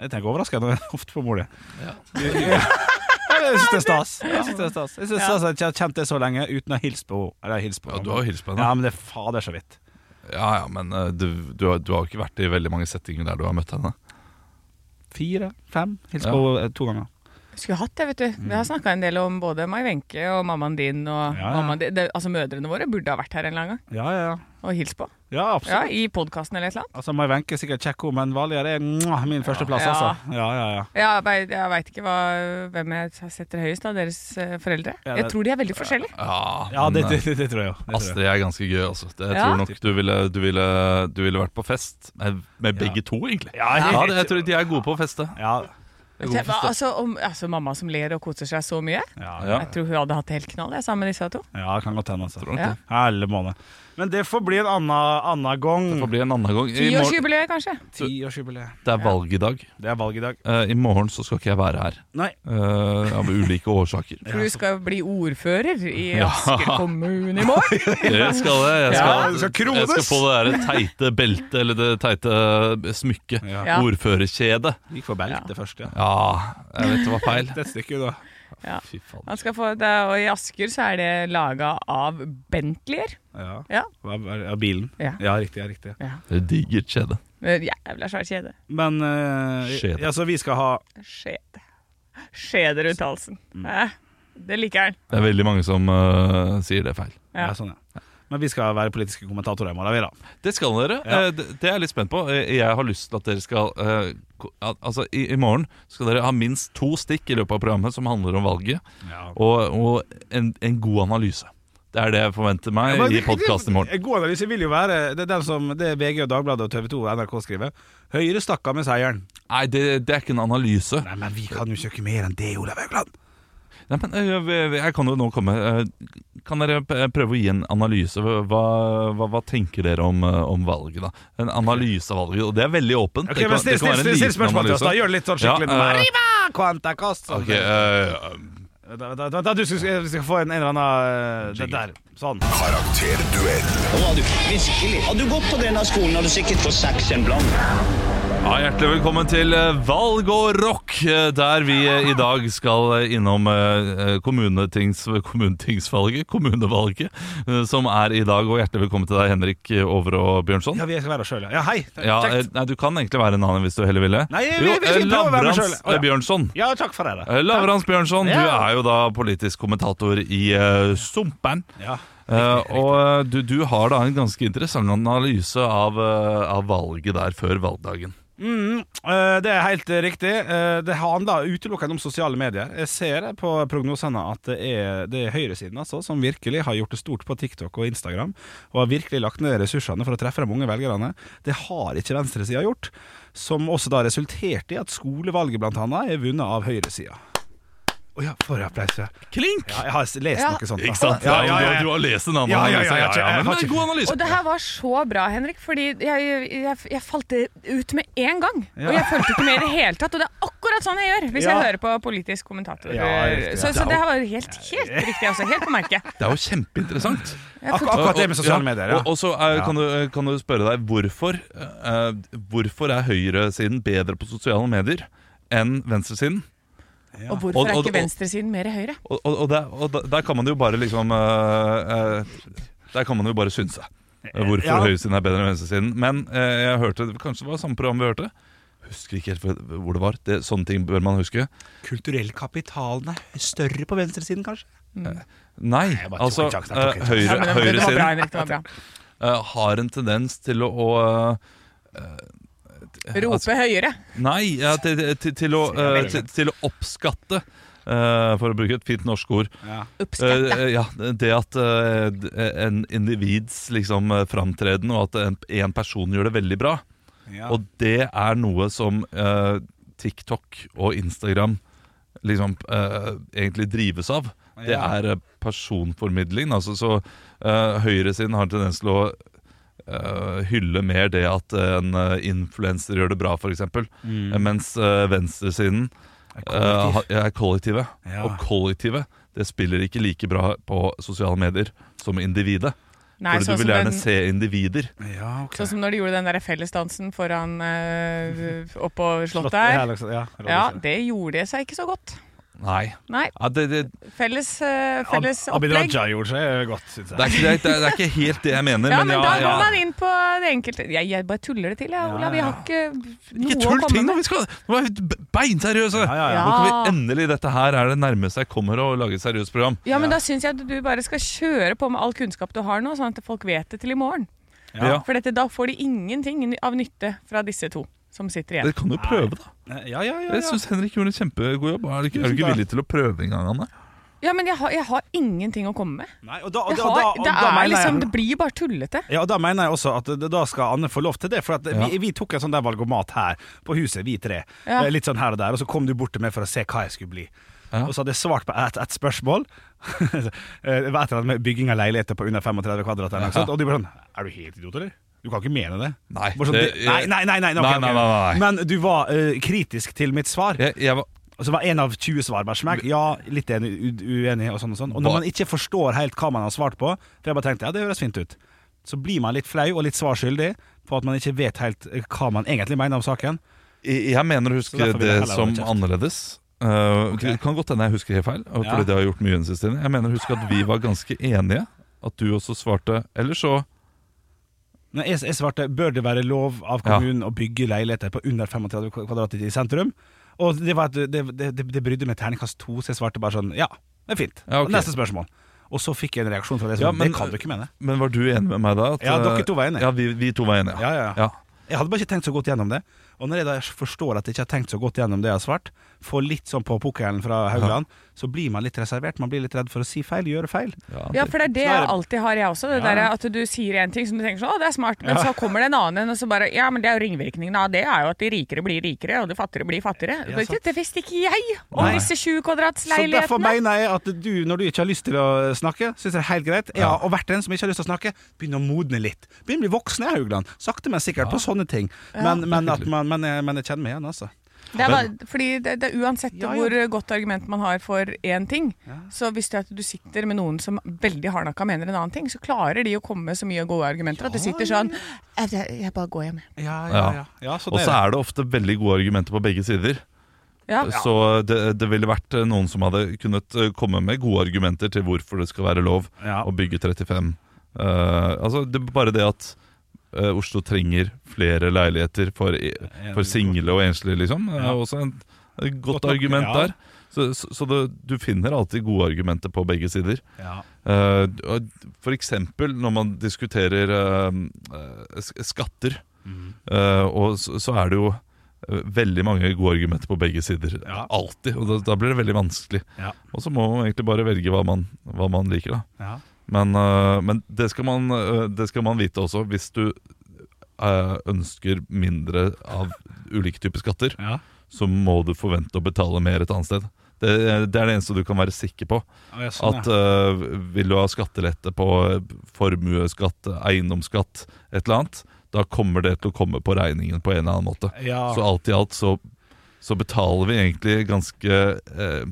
[SPEAKER 3] Jeg tenker overraskende <laughs> ofte på mor di. <laughs> Ja. Jeg syns det er stas. Jeg synes det er stas Jeg synes det er stas at jeg har kjent det så lenge uten å ha hilst på henne. Eller jeg har hilst på
[SPEAKER 5] Ja,
[SPEAKER 3] henne.
[SPEAKER 5] du har jo hilst på
[SPEAKER 3] Ja,
[SPEAKER 5] henne.
[SPEAKER 3] men det er fader så vidt.
[SPEAKER 5] Ja, ja, men eh, du, du, har, du har jo ikke vært i veldig mange settinger der du har møtt henne.
[SPEAKER 3] Fire, fem. Hilst
[SPEAKER 5] Ja.
[SPEAKER 3] på henne to ganger.
[SPEAKER 4] Skulle hatt det, vet du. Vi har snakka en del om både Mai Wenche og mammaen din. Og
[SPEAKER 3] Mm. Ja, ja.
[SPEAKER 4] mammaen din. Det, altså Mødrene våre burde ha vært her en eller annen gang
[SPEAKER 3] Ja, ja, ja.
[SPEAKER 4] og hilst på.
[SPEAKER 3] Ja,
[SPEAKER 4] Ja,
[SPEAKER 3] absolutt.
[SPEAKER 4] I podkasten eller et eller annet.
[SPEAKER 3] Altså, Mai Wenche er sikkert kjekk, hun, men Valjar er mwah, min førsteplass,
[SPEAKER 4] Ja.
[SPEAKER 3] altså. Ja, ja, ja.
[SPEAKER 4] Ja, Jeg, vei- jeg veit ikke hva, hvem jeg setter høyest av deres eh, foreldre.
[SPEAKER 3] Ja,
[SPEAKER 4] Jeg
[SPEAKER 3] det-
[SPEAKER 4] tror de er veldig forskjellige.
[SPEAKER 5] Ja,
[SPEAKER 3] Ja,
[SPEAKER 5] men,
[SPEAKER 3] det,
[SPEAKER 5] eh,
[SPEAKER 3] det, det, det tror jeg jo. Det tror jeg.
[SPEAKER 5] Astrid er ganske gøy, altså. Det, jeg
[SPEAKER 4] Ja.
[SPEAKER 5] tror nok du ville, du, ville, du ville vært på fest med, med begge to, egentlig.
[SPEAKER 3] Ja, helt-
[SPEAKER 5] det, jeg tror de er gode på å feste.
[SPEAKER 3] Ja,
[SPEAKER 5] De er gode på å feste.
[SPEAKER 4] Altså, om, altså Mamma som ler og koser seg så mye.
[SPEAKER 3] ja,
[SPEAKER 5] Ja.
[SPEAKER 4] Jeg tror hun hadde hatt det helt knall jeg, sammen med disse to.
[SPEAKER 3] ja det kan godt hende, altså.
[SPEAKER 4] Ja.
[SPEAKER 3] Hele måned. Men det får bli en annen, annen gang.
[SPEAKER 5] Det får bli en annen gang. I morgen,
[SPEAKER 4] Tiårsjubileet, kanskje.
[SPEAKER 3] Tiårsjubileet.
[SPEAKER 5] det er valg i dag.
[SPEAKER 3] Det er valg i dag.
[SPEAKER 5] Eh, I morgen så skal ikke jeg være her.
[SPEAKER 3] Nei.
[SPEAKER 5] eh, av ulike årsaker.
[SPEAKER 4] For du skal bli ordfører i
[SPEAKER 5] Ja.
[SPEAKER 4] Asker kommune i morgen.
[SPEAKER 5] Jeg skal <laughs> det. Jeg skal,
[SPEAKER 3] Ja, du skal krones.
[SPEAKER 5] jeg skal få det der teite beltet, eller det teite eh, smykket.
[SPEAKER 3] Ja.
[SPEAKER 4] Ja.
[SPEAKER 5] Ordførerkjedet.
[SPEAKER 3] Gikk for belte først, ja.
[SPEAKER 5] Ja, jeg vet det var feil.
[SPEAKER 3] Det er et stykke, da.
[SPEAKER 4] Ja.
[SPEAKER 3] Fy faen.
[SPEAKER 4] Han skal få det, og I Asker så er det laga av Bentleyer.
[SPEAKER 3] Ja.
[SPEAKER 4] Ja.
[SPEAKER 3] Hva er- Ja, bilen.
[SPEAKER 4] Ja.
[SPEAKER 3] Ja, riktig. ja, riktig
[SPEAKER 5] Det er digert kjede.
[SPEAKER 4] Med Eh, Jævla svær kjede.
[SPEAKER 3] Men eh,
[SPEAKER 5] Skjede.
[SPEAKER 3] ja, så vi skal ha
[SPEAKER 4] Skjede. Skjede rundt halsen. Hæ? Det liker han.
[SPEAKER 5] Det er veldig mange som øh, sier det er feil.
[SPEAKER 3] ja.
[SPEAKER 4] Ja.
[SPEAKER 3] sånn, ja. Men vi skal være politiske kommentatorer i morgen, vi, da.
[SPEAKER 5] Det skal dere.
[SPEAKER 3] Ja.
[SPEAKER 5] Eh, Det det er jeg litt spent på. Eh, Jeg har lyst til at dere skal eh, ko- al- Altså, i, i morgen skal dere ha minst to stikk i løpet av programmet som handler om valget, og, og en, en god analyse. Det er det jeg forventer meg
[SPEAKER 3] Men
[SPEAKER 5] i podkasten i morgen.
[SPEAKER 3] En god analyse vil jo være Det er den som det er VG og Dagbladet og TV 2 og NRK skriver. Høyre stakk av med seieren.
[SPEAKER 5] Nei, det, det er ikke en analyse.
[SPEAKER 3] Nei, men vi kan jo ikke gjøre mer enn det, Olav Haugland.
[SPEAKER 5] Nei, men eh, jeg, jeg kan jo nå komme eh, Kan dere p- prøve å gi en analyse? Hva, hva, hva tenker dere om, eh, om valget, da? En analyse av valget. Og det er veldig åpent.
[SPEAKER 3] Ok, men Still, still, still, still spørsmål til oss, da. Gjør det litt sånn skikkelig.
[SPEAKER 5] Ja, eh,
[SPEAKER 3] Arriba, quanta sånn. costa.
[SPEAKER 5] Ok, eh,
[SPEAKER 3] Vent, vent, vent, vent, du skal, vi skal få en, en eller annen eh, Det der. Sånn.
[SPEAKER 6] Karakterduell.
[SPEAKER 7] Nå var du virkelig. Hadde du gått på denne skolen, hadde du sikkert fått seks en blank.
[SPEAKER 5] Ja, hjertelig velkommen til eh, Valg og rock, eh, der vi eh, i dag skal eh, innom eh, eh, kommunetings, <laughs> kommunetingsvalget, kommunevalget, eh, som er i dag. Og hjertelig velkommen til deg, Henrik eh, Over og Bjørnson.
[SPEAKER 3] Ja, vi skal være oss sjøl, ja. ja. Hei.
[SPEAKER 5] Ja, eh,
[SPEAKER 3] Kjekt.
[SPEAKER 5] nei, Du kan egentlig være en annen hvis du heller ville.
[SPEAKER 3] Nei, vi-
[SPEAKER 5] jo,
[SPEAKER 3] vi- vi prøver
[SPEAKER 5] eh,
[SPEAKER 3] å være meg
[SPEAKER 5] Lavrans
[SPEAKER 3] selv. Å, ja.
[SPEAKER 5] eh, Bjørnson.
[SPEAKER 3] Ja, takk for det. da.
[SPEAKER 5] Eh, Lavrans Bjørnson, du
[SPEAKER 3] Ja.
[SPEAKER 5] er jo da politisk kommentator i eh, Sumpen.
[SPEAKER 3] Ja.
[SPEAKER 5] Eh, og eh, du, du har da en ganske interessant analyse av, eh, av valget der før valgdagen.
[SPEAKER 3] Mm, eh, det er helt eh, riktig. Eh, Det handler utelukkende om sosiale medier. Jeg ser det på prognosene at det er, det er høyresiden altså, som virkelig har gjort det stort på TikTok og Instagram, og har virkelig lagt ned ressursene for å treffe de unge velgerne. Det har ikke venstresida gjort, som også da resulterte i at skolevalget blant annet er vunnet av høyresida. Å ja, for en applaus. ja.
[SPEAKER 5] Klink!
[SPEAKER 3] Ja, jeg har lest
[SPEAKER 4] Ja.
[SPEAKER 3] noe sånt. da.
[SPEAKER 5] Ikke sant?
[SPEAKER 3] Ja, ja, ja,
[SPEAKER 5] Du,
[SPEAKER 3] ja.
[SPEAKER 5] har lest en annen
[SPEAKER 3] Ja, ja, ja,
[SPEAKER 5] analyse.
[SPEAKER 3] jeg har ikke- jeg har
[SPEAKER 5] men
[SPEAKER 3] ikke-
[SPEAKER 5] god analyse.
[SPEAKER 4] Og det her var så bra, Henrik, fordi jeg, jeg, jeg falt ut med en gang. Og jeg fulgte ikke med i det hele tatt. Og det er akkurat sånn jeg gjør hvis
[SPEAKER 3] Ja.
[SPEAKER 4] jeg hører på politisk kommentator.
[SPEAKER 3] Ja, riktig, ja.
[SPEAKER 4] Så, så det her var helt, helt riktig, altså. Helt på merket.
[SPEAKER 5] Det er jo kjempeinteressant.
[SPEAKER 3] Ak akkurat det med
[SPEAKER 5] Ja,
[SPEAKER 3] sosiale medier.
[SPEAKER 5] Og,
[SPEAKER 3] Ja.
[SPEAKER 5] og så eh, kan, du, kan du spørre deg hvorfor, eh, hvorfor er høyresiden bedre på sosiale medier enn venstresiden?
[SPEAKER 4] Og
[SPEAKER 5] Og-
[SPEAKER 4] hvorfor er
[SPEAKER 5] og-
[SPEAKER 4] ikke venstresiden mer høyre?
[SPEAKER 5] Og, og, og, der, og der- der kan man jo bare liksom eh, eh, Der kan man jo bare synse eh, hvorfor
[SPEAKER 3] Ja.
[SPEAKER 5] høyresiden er bedre enn venstresiden. Men eh, jeg hørte Kanskje det var samme program vi hørte? Husker ikke helt hvor det var. Det, sånne ting bør man huske.
[SPEAKER 3] Kulturell kapitalen er større på venstresiden, kanskje?
[SPEAKER 5] Nei,
[SPEAKER 3] jeg bare tok
[SPEAKER 5] altså
[SPEAKER 3] en sjanse, jeg tok en
[SPEAKER 5] eh,
[SPEAKER 3] sjanse.
[SPEAKER 5] høyre,
[SPEAKER 4] Ja, men det, det, var
[SPEAKER 5] høyresiden
[SPEAKER 4] bra, Henrik. Det var bra.
[SPEAKER 5] eh, har en tendens til å, å eh, eh, altså-
[SPEAKER 4] Rope høyere.
[SPEAKER 5] Nei, ja, til, til, til, å, eh, til, til å oppskatte eh, for å bruke et fint norsk ord.
[SPEAKER 3] Ja.
[SPEAKER 4] Oppskatte.
[SPEAKER 5] Eh, ja, det at eh, d- en individs liksom, eh, framtreden, og at en, en person gjør det veldig bra.
[SPEAKER 3] Ja.
[SPEAKER 5] Og det er noe som eh, TikTok og Instagram liksom eh, egentlig drives av. Det
[SPEAKER 3] Ja.
[SPEAKER 5] er eh, personformidling. Altså, så eh, høyresiden har en tendens til å eh, hylle mer det at en eh, influenser gjør det bra, f.eks.
[SPEAKER 3] Mm.
[SPEAKER 5] Eh, Mens eh, venstresiden
[SPEAKER 3] Er
[SPEAKER 5] eh,
[SPEAKER 3] kollektiv.
[SPEAKER 5] ha- er kollektivet.
[SPEAKER 3] Ja.
[SPEAKER 5] Og kollektivet det spiller ikke like bra på sosiale medier som individet.
[SPEAKER 4] Nei,
[SPEAKER 5] Fordi
[SPEAKER 4] sånn
[SPEAKER 5] du
[SPEAKER 4] som
[SPEAKER 5] vil gjerne
[SPEAKER 4] den-
[SPEAKER 5] se individer.
[SPEAKER 3] ja, ok.
[SPEAKER 4] Sånn som når de gjorde den der fellesdansen foran eh, oppå slottet
[SPEAKER 3] Ja,
[SPEAKER 4] her.
[SPEAKER 3] liksom, ja, rådhuset.
[SPEAKER 4] Ja, det gjorde seg ikke så godt.
[SPEAKER 5] Nei.
[SPEAKER 4] Nei.
[SPEAKER 5] Ja, det, det,
[SPEAKER 4] Felles, eh, felles
[SPEAKER 3] Ab- Abid
[SPEAKER 4] opplegg.
[SPEAKER 3] Raja gjorde seg godt, syns
[SPEAKER 5] det, er
[SPEAKER 3] jeg.
[SPEAKER 5] ikke, det, er- det er ikke helt det jeg mener.
[SPEAKER 4] Ja, men da
[SPEAKER 5] ja,
[SPEAKER 4] går
[SPEAKER 5] ja.
[SPEAKER 4] man inn på det enkelte Jeg, jeg bare tuller det til, jeg, Olav. Vi har ikke noe
[SPEAKER 5] Ikke
[SPEAKER 4] å
[SPEAKER 5] tull
[SPEAKER 4] komme
[SPEAKER 5] ting, nå!
[SPEAKER 4] med.
[SPEAKER 5] Vi skal, nå er vi beinseriøse!
[SPEAKER 3] Ja, ja, ja.
[SPEAKER 5] Nå kan
[SPEAKER 4] Ja.
[SPEAKER 5] vi endelig Dette her er det nærmeste jeg kommer å lage et seriøst program.
[SPEAKER 4] Ja, men da syns jeg at du bare skal kjøre på med all kunnskap du har nå, sånn at folk vet det til i morgen.
[SPEAKER 5] Ja.
[SPEAKER 4] For dette, da får de ingenting av nytte fra disse to som sitter igjen.
[SPEAKER 5] Dere kan jo prøve, da.
[SPEAKER 3] Ja, ja, ja, ja.
[SPEAKER 5] Jeg syns Henrik gjorde en kjempegod jobb. Er du ikke, er du ikke
[SPEAKER 3] Tusen takk.
[SPEAKER 5] villig til å prøve engang, Anne?
[SPEAKER 4] Ja, men jeg har, jeg har ingenting å komme med.
[SPEAKER 3] Nei, og da, og
[SPEAKER 4] Jeg
[SPEAKER 3] da, og da,
[SPEAKER 4] har,
[SPEAKER 3] og
[SPEAKER 4] det,
[SPEAKER 3] da
[SPEAKER 4] er
[SPEAKER 3] mener
[SPEAKER 4] liksom,
[SPEAKER 3] jeg,
[SPEAKER 4] det blir bare tullete.
[SPEAKER 3] ja, og da mener jeg også at det- da skal Anne få lov til det. For at
[SPEAKER 5] Ja.
[SPEAKER 3] vi, vi tok en sånn der valgomat her på huset, vi tre.
[SPEAKER 4] Ja.
[SPEAKER 3] Eh, Litt sånn her og der. Og så kom du bort til meg for å se hva jeg skulle bli.
[SPEAKER 5] Ja.
[SPEAKER 3] Og så hadde jeg svart på ett et spørsmål. <laughs> Eh, det var et eller annet med bygging av leiligheter på under 35 kvadrat. eller noe sånt. Og du bare sånn Er du helt idiot, eller? Du kan ikke mene det.
[SPEAKER 5] Nei,
[SPEAKER 3] Bare sånn,
[SPEAKER 5] det-
[SPEAKER 3] det nei, nei, nei, nei, ok,
[SPEAKER 5] Nei,
[SPEAKER 3] ok.
[SPEAKER 5] nei, nei, nei.
[SPEAKER 3] Men du var eh, kritisk til mitt svar.
[SPEAKER 5] Jeg, jeg var
[SPEAKER 3] Og så var en av 20 svar bare smekk. Ja, litt enig, u- uenig og sånn og sånn. Og
[SPEAKER 5] Hva-
[SPEAKER 3] når man ikke forstår helt hva man har svart på, for jeg bare tenkte ja, det høres fint ut, så blir man litt flau og litt svarskyldig på at man ikke vet helt hva man egentlig mener om saken.
[SPEAKER 5] Jeg jeg mener å huske
[SPEAKER 3] Så derfor vil jeg
[SPEAKER 5] det
[SPEAKER 3] heller
[SPEAKER 5] som
[SPEAKER 3] holde kjeft.
[SPEAKER 5] annerledes. Eh, Det kan godt hende jeg husker helt feil. og Fordi det har jeg gjort mye den siste tiden Jeg mener, husk at vi var ganske enige. At du også svarte Eller så
[SPEAKER 3] Nei, jeg, jeg svarte Bør det være lov av kommunen å bygge leiligheter på under 35 kvadrat i sentrum? Og det, var et, det, det, det- det brydde meg terningkast to, så jeg svarte bare sånn Ja, det er fint.
[SPEAKER 5] Ja, ok.
[SPEAKER 3] Neste spørsmål. Og så fikk jeg en reaksjon fra deg.
[SPEAKER 5] Ja,
[SPEAKER 3] Sånn,
[SPEAKER 5] men-
[SPEAKER 3] det kan du ikke mene.
[SPEAKER 5] Men var du enig med meg da? At,
[SPEAKER 3] Ja, dere
[SPEAKER 5] eh,
[SPEAKER 3] to var enige.
[SPEAKER 5] Ja, vi, vi to var enige.
[SPEAKER 3] Ja, ja, ja.
[SPEAKER 5] ja.
[SPEAKER 3] Jeg hadde bare ikke tenkt så godt gjennom det. Og når jeg da forstår at jeg ikke har tenkt så godt gjennom det jeg har svart, får litt sånn på pukkelen fra Haugland, så blir man litt reservert. Man blir litt redd for å si feil, gjøre feil.
[SPEAKER 4] Ja, for det er det
[SPEAKER 3] Så er
[SPEAKER 4] jeg
[SPEAKER 3] det-
[SPEAKER 4] alltid har, jeg også. Det der at du sier en ting som du tenker sånn, å, det er smart, men så kommer det en annen en, og så bare Ja, men det er jo ringvirkningene av det, er jo at de rikere blir rikere, og de fattigere blir fattigere.
[SPEAKER 3] Ja,
[SPEAKER 4] Det-
[SPEAKER 3] sant.
[SPEAKER 4] det visste ikke jeg om
[SPEAKER 3] Nei.
[SPEAKER 4] disse 20
[SPEAKER 3] Så derfor
[SPEAKER 4] kvadratsleilighetene.
[SPEAKER 3] mener jeg at du, når du ikke har lyst til å snakke, syns det er helt greit. Ja, og vært den som ikke har lyst til å snakke, begynner å modne litt. Begynner å bli voksen, jeg, Haugland. Sakte, men sikkert på sånne ting. Men, men, at man, men, jeg, men jeg kjenner meg igjen, altså.
[SPEAKER 4] Det er, bare- fordi det, det er uansett
[SPEAKER 3] Ja, ja.
[SPEAKER 4] hvor godt argument man har for én ting, så hvis det er at du sitter med noen som veldig hardnakka mener en annen ting, så klarer de å komme med så mye gode argumenter at du sitter sånn Jeg, jeg bare går hjem.
[SPEAKER 3] Ja, ja,
[SPEAKER 5] Ja.
[SPEAKER 3] ja. ja sånn
[SPEAKER 5] Og
[SPEAKER 3] er
[SPEAKER 5] så
[SPEAKER 3] det.
[SPEAKER 5] er det ofte veldig gode argumenter på begge sider.
[SPEAKER 4] Ja.
[SPEAKER 5] Så det, det ville vært eh, noen som hadde kunnet eh, komme med gode argumenter til hvorfor det skal være lov
[SPEAKER 3] Ja.
[SPEAKER 5] å bygge 35. Eh, altså det, Bare det at eh, Oslo trenger flere leiligheter for, i- for single og enslige, liksom, er også en, et godt,
[SPEAKER 3] Godt nok,
[SPEAKER 5] argument
[SPEAKER 3] ja.
[SPEAKER 5] der. Så, så, så det, du finner alltid gode argumenter på begge sider.
[SPEAKER 3] Ja.
[SPEAKER 5] Eh, og for eksempel når man diskuterer eh, eh, sk- skatter, eh, og så, så er det jo eh, veldig mange gode argumenter på begge sider.
[SPEAKER 3] Ja.
[SPEAKER 5] Alltid. Og da, da blir det veldig vanskelig.
[SPEAKER 3] Ja.
[SPEAKER 5] Og så må man egentlig bare velge hva man, hva man liker, da.
[SPEAKER 3] Ja.
[SPEAKER 5] Men, eh, men det, skal man, eh, det skal man vite også, hvis du eh, ønsker mindre av ulike typer skatter
[SPEAKER 3] Ja.
[SPEAKER 5] så må du forvente å betale mer et annet sted. Det, eh, det er det eneste du kan være sikker på.
[SPEAKER 3] Å, ja, sånn,
[SPEAKER 5] at eh, vil du ha skattelette på eh, formuesskatt, eiendomsskatt, et eller annet, da kommer det til å komme på regningen på en eller annen måte.
[SPEAKER 3] Ja.
[SPEAKER 5] Så alt i alt så, så betaler vi egentlig ganske eh,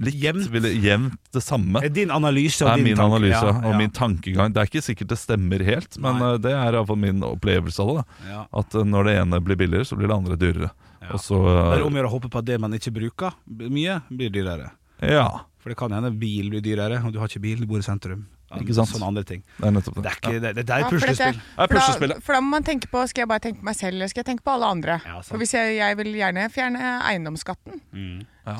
[SPEAKER 5] likt.
[SPEAKER 3] Jevnt.
[SPEAKER 5] vil jeg- jevnt det samme.
[SPEAKER 3] Er Din analyse
[SPEAKER 5] Det
[SPEAKER 3] og
[SPEAKER 5] er
[SPEAKER 3] din
[SPEAKER 5] min
[SPEAKER 3] tanke.
[SPEAKER 5] analyse
[SPEAKER 3] Ja,
[SPEAKER 5] og
[SPEAKER 3] ja.
[SPEAKER 5] min tankegang. Det er ikke sikkert det stemmer helt, men
[SPEAKER 3] Nei.
[SPEAKER 5] eh, det er iallfall min opplevelse av det. da.
[SPEAKER 3] Ja.
[SPEAKER 5] At eh, når det ene blir billigere, så blir det andre dyrere.
[SPEAKER 3] Ja.
[SPEAKER 5] Og så
[SPEAKER 3] Det
[SPEAKER 5] eh,
[SPEAKER 3] er om å gjøre å håpe på at det man ikke bruker b- mye, blir dyrere.
[SPEAKER 5] Ja.
[SPEAKER 3] For det kan hende bil blir dyrere, og du har ikke bil, du bor i sentrum. Ja,
[SPEAKER 5] Ikke sant?
[SPEAKER 3] Sånne andre ting.
[SPEAKER 5] Det er nettopp det.
[SPEAKER 3] Det er, ikke, det, det, det er
[SPEAKER 4] Ja,
[SPEAKER 3] et
[SPEAKER 4] for dette-
[SPEAKER 3] puslespill.
[SPEAKER 5] Ja,
[SPEAKER 4] For
[SPEAKER 5] puslespill,
[SPEAKER 4] da, for da må man tenke på Skal jeg bare tenke på meg selv, eller skal jeg tenke på alle andre?
[SPEAKER 3] Ja, sant. Mm.
[SPEAKER 4] for hvis jeg, jeg vil gjerne fjerne eiendomsskatten,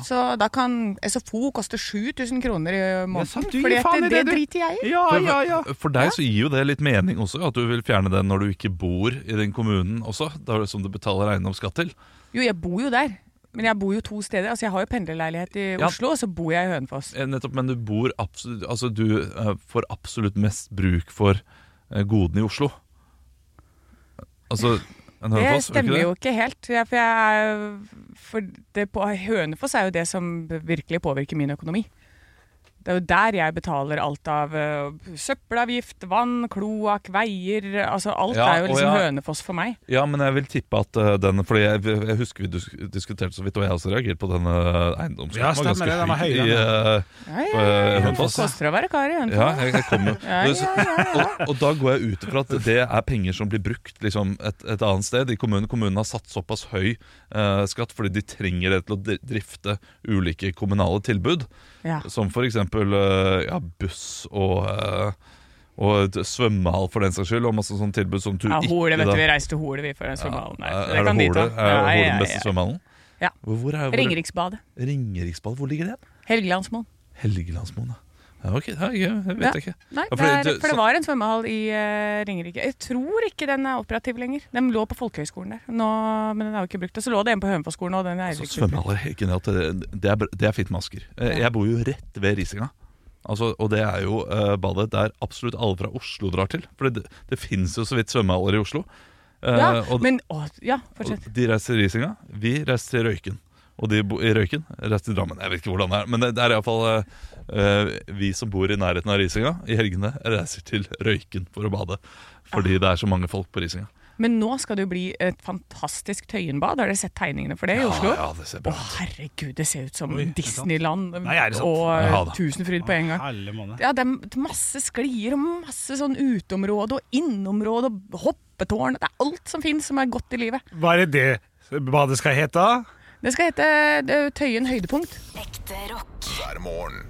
[SPEAKER 4] så da kan SFO koste 7000 kroner i
[SPEAKER 3] Ja,
[SPEAKER 4] måneden.
[SPEAKER 3] sant,
[SPEAKER 4] For
[SPEAKER 3] du gir
[SPEAKER 4] fordi at
[SPEAKER 3] faen i
[SPEAKER 4] det, det
[SPEAKER 3] du.
[SPEAKER 4] driter jeg i.
[SPEAKER 3] Ja, ja, ja.
[SPEAKER 5] For, for deg så gir jo det litt mening også, at du vil fjerne den når du ikke bor i den kommunen også, da- som du betaler eiendomsskatt til.
[SPEAKER 4] Jo, jeg bor jo der. Men jeg bor jo to steder. Altså, Jeg har jo pendlerleilighet i
[SPEAKER 5] Ja.
[SPEAKER 4] Oslo, og så bor jeg i Hønefoss.
[SPEAKER 5] Eh, Nettopp, men du bor absolutt Altså, du eh, får absolutt mest bruk for eh, godene i Oslo. Altså en
[SPEAKER 4] Det
[SPEAKER 5] Hønefoss, gjør ikke
[SPEAKER 4] stemmer jo ikke helt. Ja, For, jeg, er- for det på Hønefoss er jo det som virkelig påvirker min økonomi. Det er jo der jeg betaler alt av eh, søppelavgift, vann, kloakk, veier Altså alt
[SPEAKER 5] Ja,
[SPEAKER 4] er jo
[SPEAKER 5] og
[SPEAKER 4] liksom
[SPEAKER 5] ja.
[SPEAKER 4] Hønefoss for meg.
[SPEAKER 5] Ja, men jeg vil tippe at eh, den Fordi jeg, jeg husker vi dus diskuterte så vidt, og jeg har også reagerte på denne eh, eiendomsskatten.
[SPEAKER 3] Ja, stemmer det, den var høy, den,
[SPEAKER 5] i eh,
[SPEAKER 4] Ja, ja,
[SPEAKER 5] på, eh,
[SPEAKER 4] ja, ja.
[SPEAKER 5] Hønefoss.
[SPEAKER 4] Koster å være kar i Hønefoss.
[SPEAKER 5] Ja, jeg, jeg kommer jo
[SPEAKER 4] Ja, ja,
[SPEAKER 5] Og, og da går jeg ut ifra at det er penger som blir brukt liksom, et, et annet sted i kommunen. Kommunen har satt såpass høy eh, skatt fordi de trenger det til å dri- drifte ulike kommunale tilbud.
[SPEAKER 4] Ja.
[SPEAKER 5] Som f.eks. Eh, ja, buss og eh, og et svømmehall, for den saks skyld, og masse sånne tilbud som du
[SPEAKER 4] Ja, Hole,
[SPEAKER 5] ikke
[SPEAKER 4] vet
[SPEAKER 5] da-
[SPEAKER 4] du. Vi reiste til Hole, vi, for den
[SPEAKER 5] Ja, Eh,
[SPEAKER 4] svømmehallen der.
[SPEAKER 5] er
[SPEAKER 4] Det
[SPEAKER 5] det
[SPEAKER 4] kan de
[SPEAKER 5] Hole
[SPEAKER 4] ta.
[SPEAKER 5] Er
[SPEAKER 4] Ja,
[SPEAKER 5] Hole
[SPEAKER 4] ja,
[SPEAKER 5] den
[SPEAKER 4] ja,
[SPEAKER 5] beste
[SPEAKER 4] ja.
[SPEAKER 5] svømmehallen?
[SPEAKER 4] Ja.
[SPEAKER 5] Hvor, hvor er hvor-
[SPEAKER 4] Ringeriksbadet.
[SPEAKER 5] Ringeriksbad, hvor ligger det?
[SPEAKER 4] Helgelandsmoen.
[SPEAKER 5] Helgelandsmoen, ja. ja. Ok, det er gøy, det vet
[SPEAKER 4] Ja.
[SPEAKER 5] jeg ikke.
[SPEAKER 4] Nei,
[SPEAKER 5] Ja,
[SPEAKER 4] det
[SPEAKER 5] fordi
[SPEAKER 4] er,
[SPEAKER 5] det-
[SPEAKER 4] for
[SPEAKER 5] så-
[SPEAKER 4] det var en svømmehall i eh, Ringerike. Jeg tror ikke den er operativ lenger. Den lå på folkehøyskolen der, Nå, men den er jo ikke brukt. Og så lå det en på Hønefoss-skolen, og den er
[SPEAKER 5] Så
[SPEAKER 4] ikke brukt.
[SPEAKER 5] svømmehaller helt genialt. Det, det, er, br- det er fint med Asker. Eh, Jeg bor jo rett ved Risinga. Altså, og det er jo eh, badet der absolutt alle fra Oslo drar til. For det, det fins jo så vidt svømmehaller i Oslo. Eh,
[SPEAKER 4] Ja,
[SPEAKER 5] og,
[SPEAKER 4] men, å, ja, fortsett.
[SPEAKER 5] og de reiser til Risinga, vi reiser til Røyken. Og de bo, i Røyken reiser til Drammen. Jeg vet ikke hvordan det er, men det, det er iallfall eh, eh, vi som bor i nærheten av Risinga i helgene, reiser til Røyken for å bade.
[SPEAKER 4] Ah.
[SPEAKER 5] Fordi det er så mange folk på Risinga.
[SPEAKER 4] Men nå skal det jo bli et fantastisk Tøyenbad. Har dere sett tegningene for det i Oslo?
[SPEAKER 5] Ja, det ser
[SPEAKER 4] Å,
[SPEAKER 5] bra ut.
[SPEAKER 4] herregud, det ser ut som
[SPEAKER 3] Oi, er det sant?
[SPEAKER 4] Disneyland eh,
[SPEAKER 3] Nei, er det sant?
[SPEAKER 4] og
[SPEAKER 5] Ja da.
[SPEAKER 4] Tusenfryd <laughs> på en gang.
[SPEAKER 3] Helle måned.
[SPEAKER 4] Ja, det er masse sklier og masse sånn uteområde og inneområde og hoppetårn. Det er alt som fins som er godt i livet.
[SPEAKER 8] Hva er det det badet skal hete?
[SPEAKER 4] Det skal hete eh, Tøyen høydepunkt.
[SPEAKER 9] hver morgen.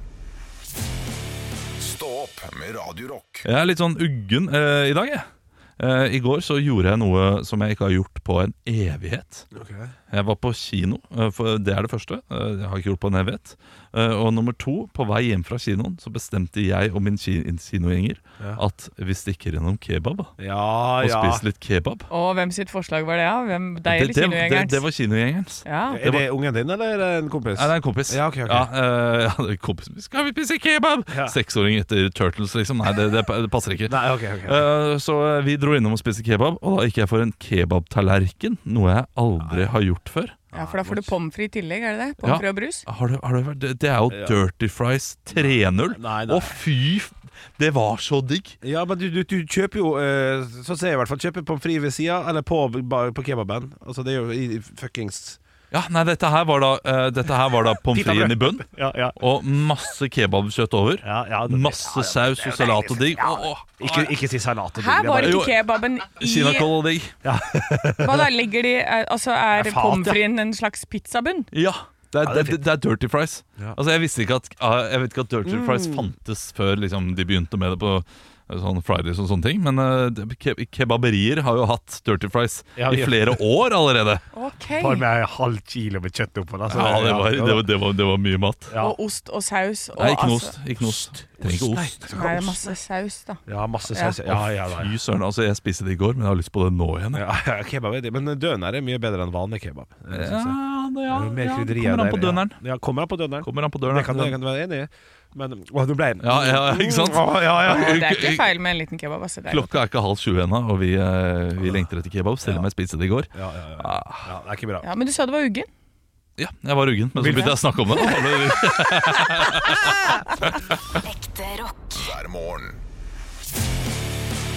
[SPEAKER 9] Stå opp med Radio Rock.
[SPEAKER 5] Jeg er litt sånn uggen eh, i dag, jeg. Eh, I går så gjorde jeg noe som jeg ikke har gjort på en evighet. Jeg var på kino, eh, for det er det første. eh, jeg har ikke gjort på en evighet. Eh, og nummer to, på vei hjem fra kinoen så bestemte jeg og min ki- kinogjenger at vi stikker innom kebab og
[SPEAKER 10] Ja, ja.
[SPEAKER 5] spiser litt kebab.
[SPEAKER 4] Og hvem sitt forslag var det? Ja? Hvem, deg
[SPEAKER 5] Det,
[SPEAKER 4] eller
[SPEAKER 5] det, det,
[SPEAKER 4] kinogjengerens?
[SPEAKER 5] det var kinogjengerens.
[SPEAKER 4] Ja.
[SPEAKER 5] Det
[SPEAKER 3] Er det ungen din, eller er det en kompis?
[SPEAKER 5] Nei, det er en kompis.
[SPEAKER 3] Ja, ok, ok.
[SPEAKER 5] eh, <laughs> ja, det er kompisen min. Skal vi spise kebab?
[SPEAKER 3] Ja.
[SPEAKER 5] Seksåring etter Turtles, liksom. Nei, det, det, det passer ikke.
[SPEAKER 3] Nei, ok, ok.
[SPEAKER 5] Eh, Så vi dro innom og spiste kebab, og da gikk jeg for en kebabtallerken. Noe jeg aldri har gjort før.
[SPEAKER 4] ja, for da får du pommes frites i tillegg, er det det?
[SPEAKER 5] Ja.
[SPEAKER 4] Pommes frites og brus?
[SPEAKER 5] Har du, har du vært, det, det er jo Dirty Fries 3.0.
[SPEAKER 3] Nei, nei.
[SPEAKER 5] Å, fy f- Det var så digg!
[SPEAKER 3] Ja, men du, du, du kjøper jo eh, Sånn ser jeg i hvert fall. Kjøper pommes frites ved sida, eller på, ba- på kebaben. Altså, det er jo i- i fuckings
[SPEAKER 5] Ja, nei, dette her var da, eh, dette her var da pommes
[SPEAKER 3] <laughs> Pita brød.
[SPEAKER 5] fritesen i bunn,
[SPEAKER 3] Ja, ja.
[SPEAKER 5] og masse kebabkjøtt over.
[SPEAKER 3] Ja, ja, det-
[SPEAKER 5] Masse saus og salat og digg. Å, å,
[SPEAKER 3] Ikke, ikke si salat. og
[SPEAKER 4] Her
[SPEAKER 3] digg,
[SPEAKER 4] var
[SPEAKER 3] det er
[SPEAKER 4] ikke
[SPEAKER 5] Jo.
[SPEAKER 4] kebaben i
[SPEAKER 5] Kinakål og digg.
[SPEAKER 4] Hva da, ligger de er- Altså, er
[SPEAKER 3] fat, ja.
[SPEAKER 4] pommes fritesen en slags pizzabunn?
[SPEAKER 5] Ja. Det er,
[SPEAKER 3] Ja,
[SPEAKER 5] det,
[SPEAKER 3] det er
[SPEAKER 5] det, er Dirty Fries.
[SPEAKER 3] Ja.
[SPEAKER 5] Altså Jeg visste ikke at, ah, jeg vet ikke at Dirty Fries fantes før liksom, de begynte med det på eh, sånn Fridays og sånne ting. Men eh, det- ke kebaberier har jo hatt Dirty Fries
[SPEAKER 3] Ja,
[SPEAKER 5] i
[SPEAKER 3] ja.
[SPEAKER 5] flere år allerede.
[SPEAKER 4] Ok.
[SPEAKER 3] bare- Bare med en halv kilo med kjøtt oppå. da, så-
[SPEAKER 5] Ja, det var,
[SPEAKER 3] <laughs> ja,
[SPEAKER 5] det var, det var, det var mye mat.
[SPEAKER 3] Ja.
[SPEAKER 4] Og ost og saus og
[SPEAKER 5] Nei, ikke noe
[SPEAKER 4] altså-
[SPEAKER 5] ost. Ikke noe ost. Trenger ikke ost.
[SPEAKER 4] Nei, det er masse saus, da.
[SPEAKER 3] ja, masse saus. Ja, ja, ja.
[SPEAKER 5] Fy søren, altså jeg spiste det i går, men jeg har lyst på det nå igjen. jeg.
[SPEAKER 3] Ja, ja, kebab er det, men døner er mye bedre enn vanlig kebab. eh, synes jeg.
[SPEAKER 5] det-
[SPEAKER 3] Det er jo mer
[SPEAKER 5] ja,
[SPEAKER 3] krydderier
[SPEAKER 5] Kommer an
[SPEAKER 3] der,
[SPEAKER 5] på døneren.
[SPEAKER 3] Ja. ja, kommer an på døneren.
[SPEAKER 5] Kommer an på
[SPEAKER 3] Det kan jeg
[SPEAKER 5] døneren.
[SPEAKER 3] kan være enig i. Men Å, nå ble jeg
[SPEAKER 5] Ja, ja, ikke sant?
[SPEAKER 3] Å, ja, ja.
[SPEAKER 4] Og det er ikke feil med en liten kebab. Altså. Det er
[SPEAKER 5] Klokka er ikke halv sju ennå, og vi, eh, vi lengter etter kebab, selv om jeg spiste det i går.
[SPEAKER 3] Ja, ja, ja. ja, det er ikke bra.
[SPEAKER 4] Ja, Men du sa du var uggen.
[SPEAKER 5] Ja, jeg var uggen, men så begynte jeg å
[SPEAKER 3] <laughs>
[SPEAKER 5] snakke om det. Da ble det
[SPEAKER 9] Hver morgen.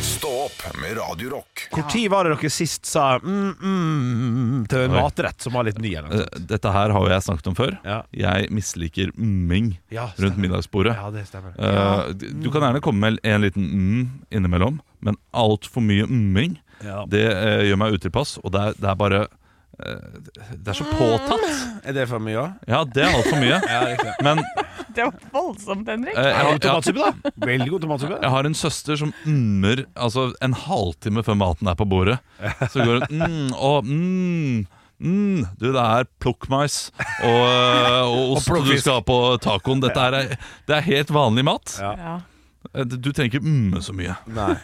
[SPEAKER 9] Stå opp med Radio Rock.
[SPEAKER 3] Hvor tid var det dere sist sa mm, mm, til en
[SPEAKER 5] Oi.
[SPEAKER 3] matrett som var litt ny? Eller? noe?
[SPEAKER 5] Eh, Dette her har jo jeg snakket om før.
[SPEAKER 3] Ja.
[SPEAKER 5] Jeg misliker mming
[SPEAKER 3] Ja,
[SPEAKER 5] rundt
[SPEAKER 3] stemmer.
[SPEAKER 5] middagsbordet.
[SPEAKER 3] Ja, det stemmer.
[SPEAKER 5] Eh, d- Du kan gjerne komme med en liten mm innimellom, men altfor mye mming
[SPEAKER 3] Ja.
[SPEAKER 5] det eh, gjør meg utilpass, og det er, det er bare eh, Det er så
[SPEAKER 3] Ah.
[SPEAKER 5] påtatt.
[SPEAKER 3] Er det for mye òg?
[SPEAKER 5] Ja, det er altfor mye. Men
[SPEAKER 4] Det var voldsomt, Henrik.
[SPEAKER 5] eh, jeg,
[SPEAKER 3] God <laughs>
[SPEAKER 5] jeg,
[SPEAKER 3] tomatsuppe, da. Veldig god tomatsuppe.
[SPEAKER 5] jeg har en søster som mm-er altså, en halvtime før maten er på bordet. Så går hun mm, og mm, mm. Du, det er plukkmais og, eh, og ost du skal ha på tacoen. Dette er, det er helt vanlig mat.
[SPEAKER 4] Ja.
[SPEAKER 5] Du trenger ikke mm så mye.
[SPEAKER 3] Nei.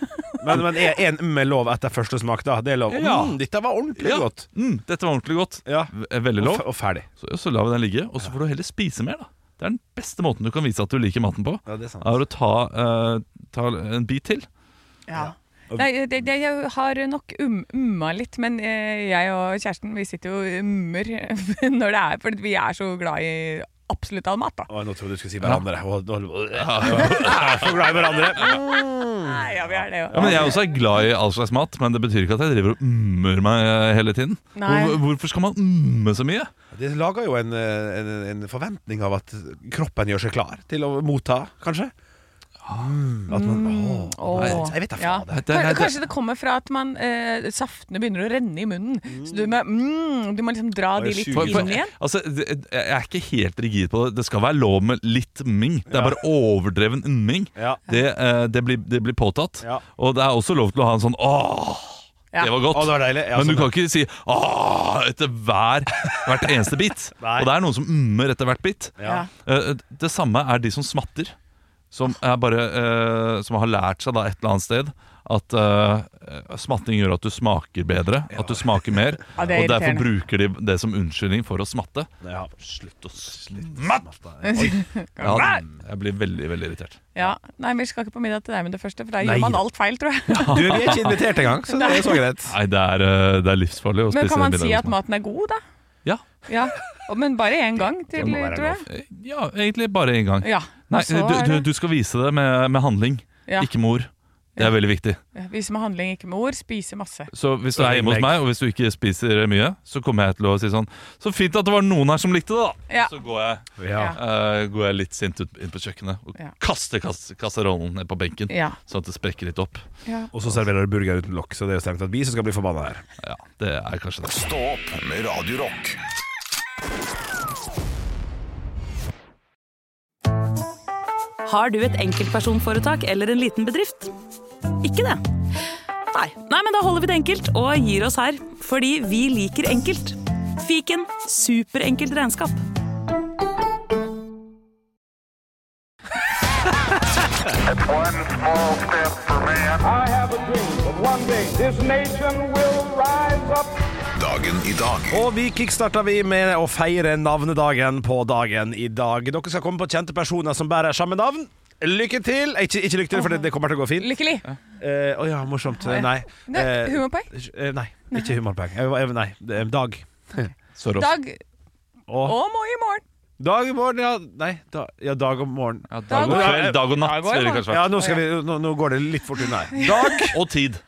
[SPEAKER 3] Men, men er en mm er lov etter første smak, da? Det er lov.
[SPEAKER 5] Ja.
[SPEAKER 3] Mm, dette var ordentlig godt.
[SPEAKER 5] Mm, dette var ordentlig godt.
[SPEAKER 3] Ja.
[SPEAKER 5] V- eh, Veldig
[SPEAKER 3] Og,
[SPEAKER 5] lov.
[SPEAKER 3] fe- og ferdig.
[SPEAKER 5] Så, så lar vi den ligge, og så får du heller spise mer, da. Det er den beste måten du kan vise at du liker maten på.
[SPEAKER 3] Ja, det er sant.
[SPEAKER 5] Er å ta, eh, ta en bit til.
[SPEAKER 4] Ja. Nei, det, det, jeg har nok um, umma litt, men eh, jeg og kjæresten vi sitter jo og ummer <laughs> når det er Fordi vi er så glad i absolutt all mat, da.
[SPEAKER 3] Å, nå trodde jeg du skulle si hverandre. Å, nå- <laughs> Jeg er så glad i hverandre.
[SPEAKER 4] Nei, ja, vi er det jo.
[SPEAKER 5] Ja, men Jeg også er glad i all slags mat, men det betyr ikke at jeg driver og ummer meg eh, hele tiden.
[SPEAKER 4] Nei.
[SPEAKER 5] Hvor, hvorfor skal man umme så mye?
[SPEAKER 3] Det lager jo en, eh, en, en forventning av at kroppen gjør seg klar til å motta, kanskje.
[SPEAKER 5] Ah.
[SPEAKER 3] Mm, at man, å,
[SPEAKER 4] Åh.
[SPEAKER 3] jeg vet da
[SPEAKER 4] Ja.
[SPEAKER 3] fader.
[SPEAKER 5] Det- det- det-
[SPEAKER 4] Kanskje det kommer fra at man, eh, saftene begynner å renne i munnen. Så du, må- mm, du må liksom dra
[SPEAKER 3] Bare
[SPEAKER 4] de litt
[SPEAKER 3] suge.
[SPEAKER 5] For, for,
[SPEAKER 4] inn igjen.
[SPEAKER 5] altså, det- jeg er ikke helt rigid på det. Det skal være lov med litt umming. Det er bare overdreven umming.
[SPEAKER 3] Ja.
[SPEAKER 5] Det, eh, det, blir, det blir påtatt.
[SPEAKER 3] Ja.
[SPEAKER 5] Og det er også lov til å ha en sånn åh,
[SPEAKER 4] Ja.
[SPEAKER 5] det var godt.
[SPEAKER 3] Å, det var deilig. Ja,
[SPEAKER 5] Men du
[SPEAKER 3] sånn,
[SPEAKER 5] kan ikke si åh etter hver, hvert eneste bit.
[SPEAKER 3] <laughs> Nei.
[SPEAKER 5] Og det er noen som ummer etter hvert bit.
[SPEAKER 3] Ja.
[SPEAKER 5] Eh, Det samme er de som smatter. Som, er bare, eh, som har lært seg da et eller annet sted at eh, smatting gjør at du smaker bedre. At du smaker mer.
[SPEAKER 4] <laughs> Ja, det er
[SPEAKER 5] og derfor
[SPEAKER 4] irriterende.
[SPEAKER 5] bruker de det som unnskyldning for å smatte.
[SPEAKER 3] Ja.
[SPEAKER 5] Slutt å smatte! <laughs> Ja, jeg blir veldig, veldig irritert.
[SPEAKER 4] Ja. Nei, vi skal ikke på middag til deg med det første, for da
[SPEAKER 3] Nei.
[SPEAKER 4] gjør man alt feil, tror
[SPEAKER 5] <laughs>
[SPEAKER 4] jeg.
[SPEAKER 3] Du, vi er ikke invitert engang, så det er så greit.
[SPEAKER 5] Nei, det er, eh, det er livsfarlig å
[SPEAKER 4] Men
[SPEAKER 5] spise
[SPEAKER 4] kan man
[SPEAKER 5] middag
[SPEAKER 4] si
[SPEAKER 5] hos
[SPEAKER 4] at
[SPEAKER 5] meg.
[SPEAKER 4] maten er god, da?
[SPEAKER 5] Ja.
[SPEAKER 4] Ja, og- Men bare én gang til,
[SPEAKER 3] må være
[SPEAKER 4] tror jeg.
[SPEAKER 5] Eh, Ja, egentlig bare én gang.
[SPEAKER 4] Ja.
[SPEAKER 5] Nei,
[SPEAKER 4] og så
[SPEAKER 5] du,
[SPEAKER 4] er
[SPEAKER 5] du,
[SPEAKER 4] det-
[SPEAKER 5] du skal vise det med, med handling,
[SPEAKER 4] ja.
[SPEAKER 5] ikke med ord. Det er veldig viktig.
[SPEAKER 4] Vise med handling, ikke med ord. Spise masse.
[SPEAKER 5] Så hvis du er hjemme hos meg, og hvis du ikke spiser mye, så kommer jeg til å si sånn Så fint at det var noen her som likte det, da!
[SPEAKER 4] Ja.
[SPEAKER 5] Så går jeg,
[SPEAKER 4] Ja.
[SPEAKER 5] eh, går jeg litt sint ut, inn på kjøkkenet og
[SPEAKER 4] Ja.
[SPEAKER 5] kaster kass kasserollen ned på benken.
[SPEAKER 4] Ja.
[SPEAKER 5] Sånn at det sprekker litt opp.
[SPEAKER 4] ja.
[SPEAKER 3] Og så serverer du burger uten lokk, så det er jo strengt tatt vi som skal bli forbanna her.
[SPEAKER 5] Ja, det er kanskje det.
[SPEAKER 9] Stå opp med Radio Rock.
[SPEAKER 1] Har du et enkeltpersonforetak eller en liten bedrift? Ikke det? Nei. Nei, men da holder vi det enkelt og gir oss her, fordi vi liker enkelt. Fiken superenkelt regnskap.
[SPEAKER 11] I have a dream that one day this nation will rise up.
[SPEAKER 9] Dagen i dag.
[SPEAKER 3] Og vi kickstarta vi med å feire navnedagen på dagen i dag. Dere skal komme på kjente personer som bærer samme navn. Lykke til! Eh, Ikke, ikke lykke til, for det, det kommer til å gå fint.
[SPEAKER 4] Lykkelig.
[SPEAKER 3] Å ja, morsomt. Eh, Nei.
[SPEAKER 4] Nei,
[SPEAKER 3] Eh,
[SPEAKER 4] humorpoeng?
[SPEAKER 3] eh, Nei, ikke humorpoeng. Eh, hva- eh, Nei, det er Dag.
[SPEAKER 5] Soros.
[SPEAKER 4] Dag
[SPEAKER 3] Og
[SPEAKER 4] og må i morgen.
[SPEAKER 3] Dag i morgen, ja. Nei, da, ja, dag om morgenen.
[SPEAKER 5] Ja, dag, og
[SPEAKER 4] Dag og-
[SPEAKER 5] kveld, dag og natt,
[SPEAKER 4] Dag og-
[SPEAKER 5] ville det kanskje vært.
[SPEAKER 3] Ja, nå, skal vi, nå, nå går det litt fort <laughs> unna her. Dag
[SPEAKER 5] Og tid.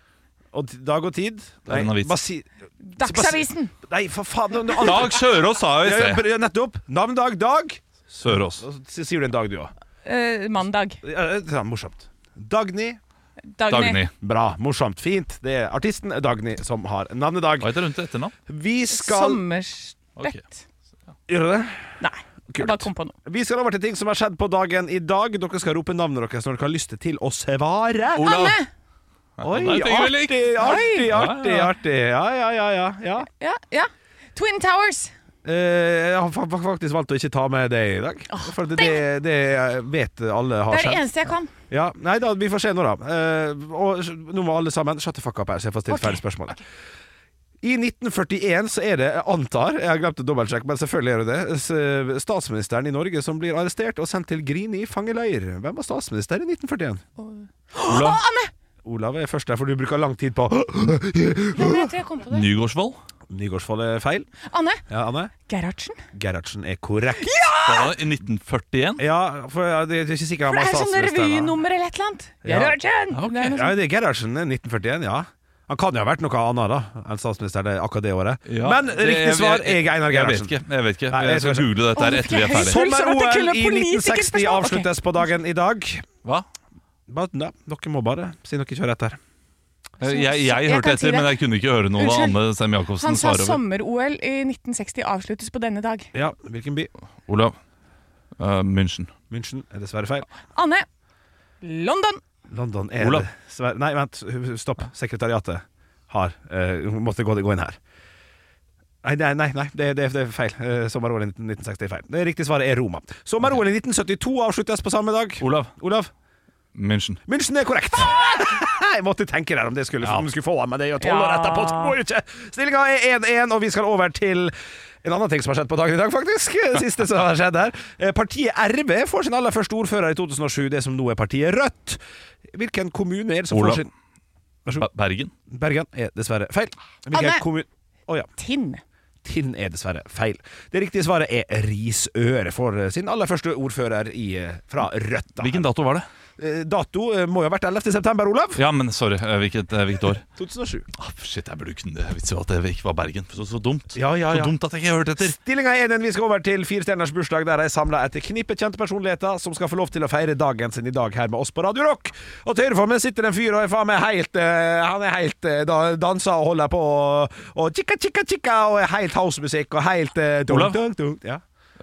[SPEAKER 3] og, t- dag og tid.
[SPEAKER 5] er en avis.
[SPEAKER 3] bare si-
[SPEAKER 4] Dagsavisen.
[SPEAKER 3] Nei, for faen! Nå, nå, alle-
[SPEAKER 5] <laughs> Dag Sørås sa jo i
[SPEAKER 3] ja, ja,
[SPEAKER 5] sted.
[SPEAKER 3] bare- ja, nettopp. Navn, dag, dag.
[SPEAKER 5] Sørås.
[SPEAKER 3] Og så sier du en dag, du òg.
[SPEAKER 4] Eh, mandag.
[SPEAKER 3] Ja, det er morsomt. Dagny.
[SPEAKER 4] Dagny.
[SPEAKER 5] Dagny.
[SPEAKER 3] Bra. Morsomt. Fint. Det er artisten Dagny som har navnedag.
[SPEAKER 5] Hva heter hun til etternavn?
[SPEAKER 3] Vi skal
[SPEAKER 4] Sommerstøtt.
[SPEAKER 5] Ok.
[SPEAKER 3] Gjøre det?
[SPEAKER 4] Nei. Jeg bare kom på noe.
[SPEAKER 3] Vi skal over til ting som har skjedd på dagen i dag. Dere skal rope navnet deres når dere har lyst til å svare.
[SPEAKER 5] Olav.
[SPEAKER 4] Anne!
[SPEAKER 3] Oi,
[SPEAKER 5] Nei, tenker
[SPEAKER 3] artig,
[SPEAKER 5] vi likt.
[SPEAKER 3] artig, artig.
[SPEAKER 5] ja.
[SPEAKER 3] artig Ja, ja, ja. ja, ja.
[SPEAKER 4] Ja, ja. Twin Towers.
[SPEAKER 3] Eh, jeg har fa- fa- faktisk valgt å ikke ta med det i dag. For det, det, det vet alle har
[SPEAKER 4] Det er det
[SPEAKER 3] skjedd.
[SPEAKER 4] eneste jeg kan.
[SPEAKER 3] Ja, nei da, vi får se nå, da. Eh, og s- nå må alle sammen shut the fuck up her, så jeg får stilt ferdig spørsmålet. I 1941 så er det, jeg antar, jeg har glemt å dobbeltsjekke, men selvfølgelig er det det, s- statsministeren i Norge som blir arrestert og sendt til Grini fangeleir. Hvem var statsminister i 1941?
[SPEAKER 5] Olav
[SPEAKER 3] Olav er først der, for du bruker lang tid på <gasps>
[SPEAKER 4] Ja, men jeg tror jeg kom på det.
[SPEAKER 5] Nygårdsvold.
[SPEAKER 3] Nygårdsvold er feil.
[SPEAKER 4] Anne
[SPEAKER 3] Ja, Anne?
[SPEAKER 4] Gerhardsen.
[SPEAKER 3] Gerhardsen er korrekt.
[SPEAKER 5] Det var I 1941.
[SPEAKER 3] Ja, for jeg jeg er ikke sikker han
[SPEAKER 4] For det
[SPEAKER 3] var
[SPEAKER 4] er sånn
[SPEAKER 3] statsminister. da.
[SPEAKER 4] revynummer eller et eller annet.
[SPEAKER 3] Ja.
[SPEAKER 4] Gerhardsen!
[SPEAKER 5] Ja, ok.
[SPEAKER 4] Det er noe
[SPEAKER 3] Ja, det er Gerhardsen, 1941, ja. Han kan jo ha vært noe annet da enn statsminister det, akkurat det året.
[SPEAKER 5] Ja,
[SPEAKER 3] Men
[SPEAKER 5] det-
[SPEAKER 3] riktig svar
[SPEAKER 5] jeg-
[SPEAKER 3] er Einar Gerhardsen.
[SPEAKER 5] Jeg vet ikke. Jeg, vet ikke.
[SPEAKER 3] Nei, jeg
[SPEAKER 5] jeg skal
[SPEAKER 3] skal
[SPEAKER 5] google dette her
[SPEAKER 4] Å,
[SPEAKER 5] etter vi er
[SPEAKER 4] ok.
[SPEAKER 5] ferdig.
[SPEAKER 4] Så- At det
[SPEAKER 3] Sommer-OL
[SPEAKER 4] kunne
[SPEAKER 3] i 1960
[SPEAKER 4] politikerspørsmål.
[SPEAKER 3] avsluttes på dagen i dag.
[SPEAKER 5] Hva?
[SPEAKER 3] Bare, ja, dere må bare si dere ikke har rett her.
[SPEAKER 5] Eh, Jeg, jeg,
[SPEAKER 4] jeg kan
[SPEAKER 5] hørte
[SPEAKER 4] si
[SPEAKER 5] etter,
[SPEAKER 4] det.
[SPEAKER 5] men jeg kunne ikke høre noe da
[SPEAKER 4] Unnskyld.
[SPEAKER 5] Anne Sem-Jacobsen
[SPEAKER 4] Han sa
[SPEAKER 5] svarer over.
[SPEAKER 4] sommer-OL i 1960 avsluttes på denne dag.
[SPEAKER 3] Ja, hvilken by?
[SPEAKER 5] Olav. Eh, München.
[SPEAKER 3] München er dessverre feil.
[SPEAKER 4] Anne. London.
[SPEAKER 3] London er
[SPEAKER 5] Olav.
[SPEAKER 3] dessverre Nei, vent. Stopp. Sekretariatet har eh, Måtte gå, gå inn her. Nei, nei, nei, nei det, det, det er feil. Eh, Sommer-OL i 1960 er feil. Det riktige svaret er Roma. Sommer-OL i 1972 avsluttes på samme dag.
[SPEAKER 5] Olav.
[SPEAKER 3] Olav?
[SPEAKER 5] München.
[SPEAKER 3] München er korrekt. <laughs> Jeg måtte tenke der om det skulle, om du skulle få av meg det. og tolv år
[SPEAKER 4] Ja.
[SPEAKER 3] etterpå, så går det ikke. Stillinga er 1-1, og vi skal over til en annen ting som har skjedd på dagen i dag,
[SPEAKER 5] <laughs>
[SPEAKER 3] faktisk. Det Siste som har skjedd her. Eh, Partiet RB får sin aller første ordfører i 2007, det som nå er partiet Rødt. Hvilken kommune er det som
[SPEAKER 5] Olav.
[SPEAKER 3] får sin Vær så
[SPEAKER 5] Ba-
[SPEAKER 3] god.
[SPEAKER 5] Bergen.
[SPEAKER 3] Bergen er dessverre feil.
[SPEAKER 4] Anne.
[SPEAKER 3] Hvilken kommun... Å ja.
[SPEAKER 4] Tinn.
[SPEAKER 3] Tinn er dessverre feil. Det riktige svaret er Risør, for sin aller første ordfører i, eh, fra Rødt. da.
[SPEAKER 5] Hvilken dato var det?
[SPEAKER 3] Eh, Dato eh, må jo ha vært 11. september, Olav.
[SPEAKER 5] Ja, men sorry. eh, Hvilket, eh, hvilket år?
[SPEAKER 3] 2007.
[SPEAKER 5] <laughs> Ah, shit, jeg burde kunne vits i at det ikke var Bergen. Så, så dumt.
[SPEAKER 3] Ja, ja, ja.
[SPEAKER 5] Så dumt at jeg ikke hørte etter.
[SPEAKER 3] Stillinga er den vi skal over til Fire stjerners bursdag, der jeg samla et knippe kjente personligheter som skal få lov til å feire dagen sin i dag her med oss på Radio Rock. Og til høyre for meg sitter en fyr og er faen meg helt eh, Han er helt eh, da- danser og holder på og, og chicka, chicka, chicka, og er helt housemusikk og helt eh, dunk,
[SPEAKER 5] Olav?
[SPEAKER 3] dunk, dunk. Ja.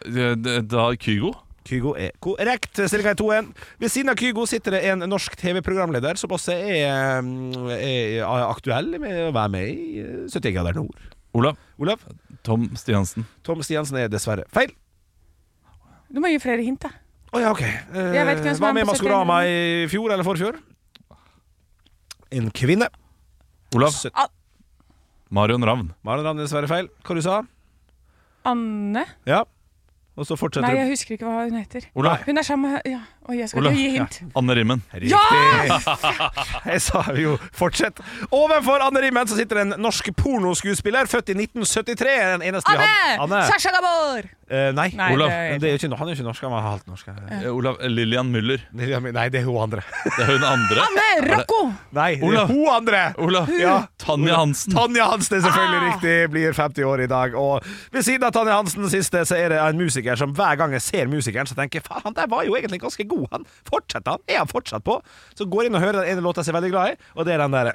[SPEAKER 5] Eh, d- Da Kygo?
[SPEAKER 3] Kygo er korrekt. Stillinga er 2-1. Ved siden av Kygo sitter det en norsk TV-programleder som også er, mm, er aktuell med å være med i eh, 70-grader nord.
[SPEAKER 5] Olav.
[SPEAKER 3] Olav?
[SPEAKER 5] Tom Stiansen.
[SPEAKER 3] Tom Stiansen er dessverre feil.
[SPEAKER 4] Du må gi flere hint, da.
[SPEAKER 3] Å ja, ok. Eh,
[SPEAKER 4] Jeg vet hvem som
[SPEAKER 3] var
[SPEAKER 4] er
[SPEAKER 3] med i
[SPEAKER 4] på
[SPEAKER 3] Maskorama i fjor eller forfjor? En kvinne.
[SPEAKER 5] Olav.
[SPEAKER 3] Sø-
[SPEAKER 5] Marion Ravn.
[SPEAKER 3] Maren Rand, dessverre feil. Hva du sa
[SPEAKER 4] Anne
[SPEAKER 3] Ja. Og så
[SPEAKER 4] Nei,
[SPEAKER 3] fortsetter du.
[SPEAKER 4] jeg husker ikke hva hun heter.
[SPEAKER 5] Olav.
[SPEAKER 4] Hun er sammen med ja. Oi, jeg skal
[SPEAKER 5] Olav,
[SPEAKER 4] ikke gi hint.
[SPEAKER 5] Anne Rimmen.
[SPEAKER 3] Riktig!
[SPEAKER 4] <laughs>
[SPEAKER 3] Jeg sa jo 'fortsett'. Ovenfor Anne Rimmen så sitter en norsk pornoskuespiller, født i 1973. Den eneste vi hadde.
[SPEAKER 4] Anne! Sasha Gabor!
[SPEAKER 3] Eh, nei.
[SPEAKER 4] Nei,
[SPEAKER 5] Olav,
[SPEAKER 3] Men Det
[SPEAKER 4] det,
[SPEAKER 3] er jo ikke, han er jo ikke norsk, han er halvt norsk.
[SPEAKER 5] Eh, Olav Lillian Müller.
[SPEAKER 3] Nei, det er hun andre.
[SPEAKER 5] Det er hun andre.
[SPEAKER 4] Anne Rocco!
[SPEAKER 3] Nei, det er
[SPEAKER 5] Olav.
[SPEAKER 3] hun andre!
[SPEAKER 5] Olav.
[SPEAKER 3] Ja.
[SPEAKER 5] Tanja Hansen.
[SPEAKER 3] Tanja Hansen er selvfølgelig
[SPEAKER 4] Ah.
[SPEAKER 3] riktig, blir 50 år i dag. Og ved siden av Tanja Hansen den siste, så er det en musiker som hver gang jeg ser musikeren, så tenker jeg faen, han der var jo egentlig ganske god, han. Fortsetter han? Er han fortsatt på? Så går jeg inn og hører den ene låta jeg er veldig glad i, og det er den der